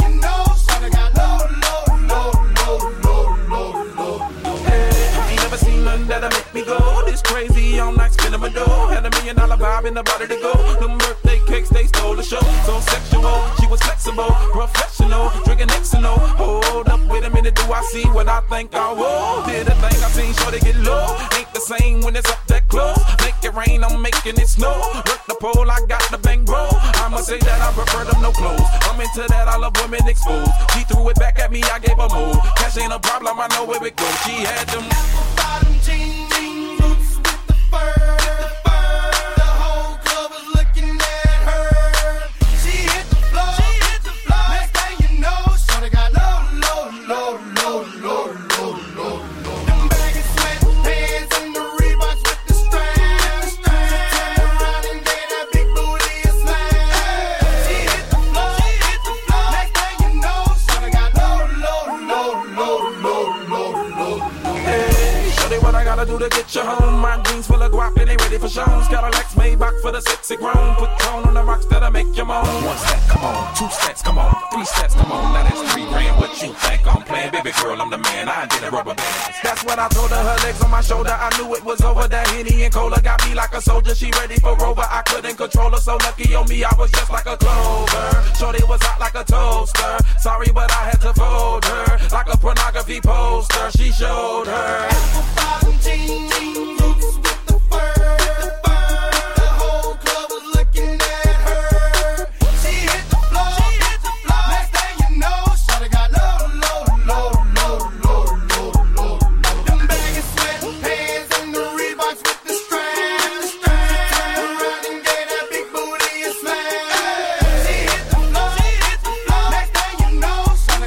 you know, son, I got low, low, low, low, low, low, low. Hey, I ain't never seen nothing that'll make me go this crazy. All night spinning my dough. Had a million dollar vibe in the body to go. Them birthday cakes, they stole the show. So sexual, she was flexible, professional, drinking Xano. Hold up, wait a minute, do I see what I think I will? Did a thing I seen, sure they get low. Ain't the same when it's up that close. Make it rain, I'm making it snow. Work the pole, I got the bang roll. I'ma say that I prefer them no clothes. I'm into that, I love women exposed. She threw it back at me, I gave her more. Cash ain't a problem, I know where it goes. She had them apple bottom jeans, boots with the fur. The whole club was looking at her. She hit the floor. She hit the floor. Next thing you know, shorty got low, low, low, low, low, low, low, low. Them baggy sweatpants and the Reeboks with the straps. Turn around and then that big booty is slam. She hit the floor. She hit the floor. Next thing you know, shorty got low, low, low, low, low, low, low, low. Hey, show they what I gotta do to get you home. My jeans full of guap and they ready for shows. Got a Lex Maybach for the sexy grown. Put tone on the rocks that'll make you moan. One step, come on. Two steps, come on. Three steps, come on. Now that's three grand. What you think I'm playing? Baby girl, I'm the man. I did a rubber band. That's what I told her. Her legs on my shoulder. I knew it was over. That Henny and Cola got me like a soldier. She ready for Rover. I couldn't control her. So lucky on me, I was just like a clover. Shorty was hot like a toaster. Sorry, but I had to fold her. Like a pornography poster. She showed her.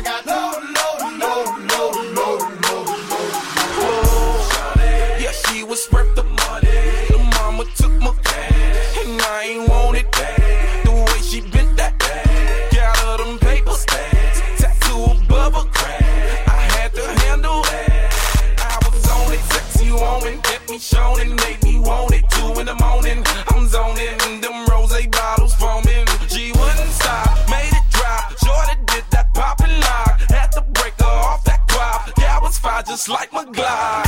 Yeah, she was worth the money. The mama took my cash. And I ain't want it back. The way she bent that ass. Got her them paper stacks. Tattoo above her crack. I had to handle it. I was on it, sex you on it. Get me shown and make me want it. Two in the morning, I'm zoning. Them rose bottles foaming. She wouldn't stop, made it drop. Jordan did that pop and lock. Had to break her off that guap. Yeah, I was fire just like my glide.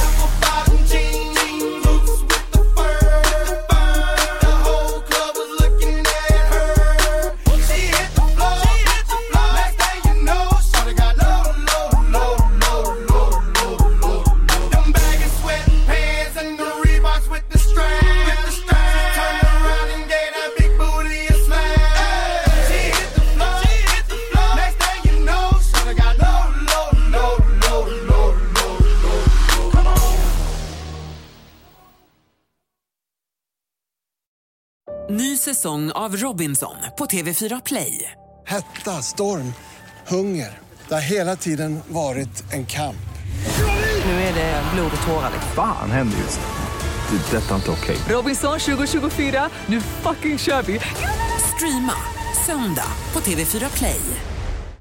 Ny säsong av Robinson på TV4 Play. Hetta, storm, hunger. Det har hela tiden varit en kamp. Nu är det blod och tårar. liksom. Fan händer just nu. Det. är Detta är inte okej. Robinson 2024, nu fucking kör vi! Streama söndag på TV4 Play.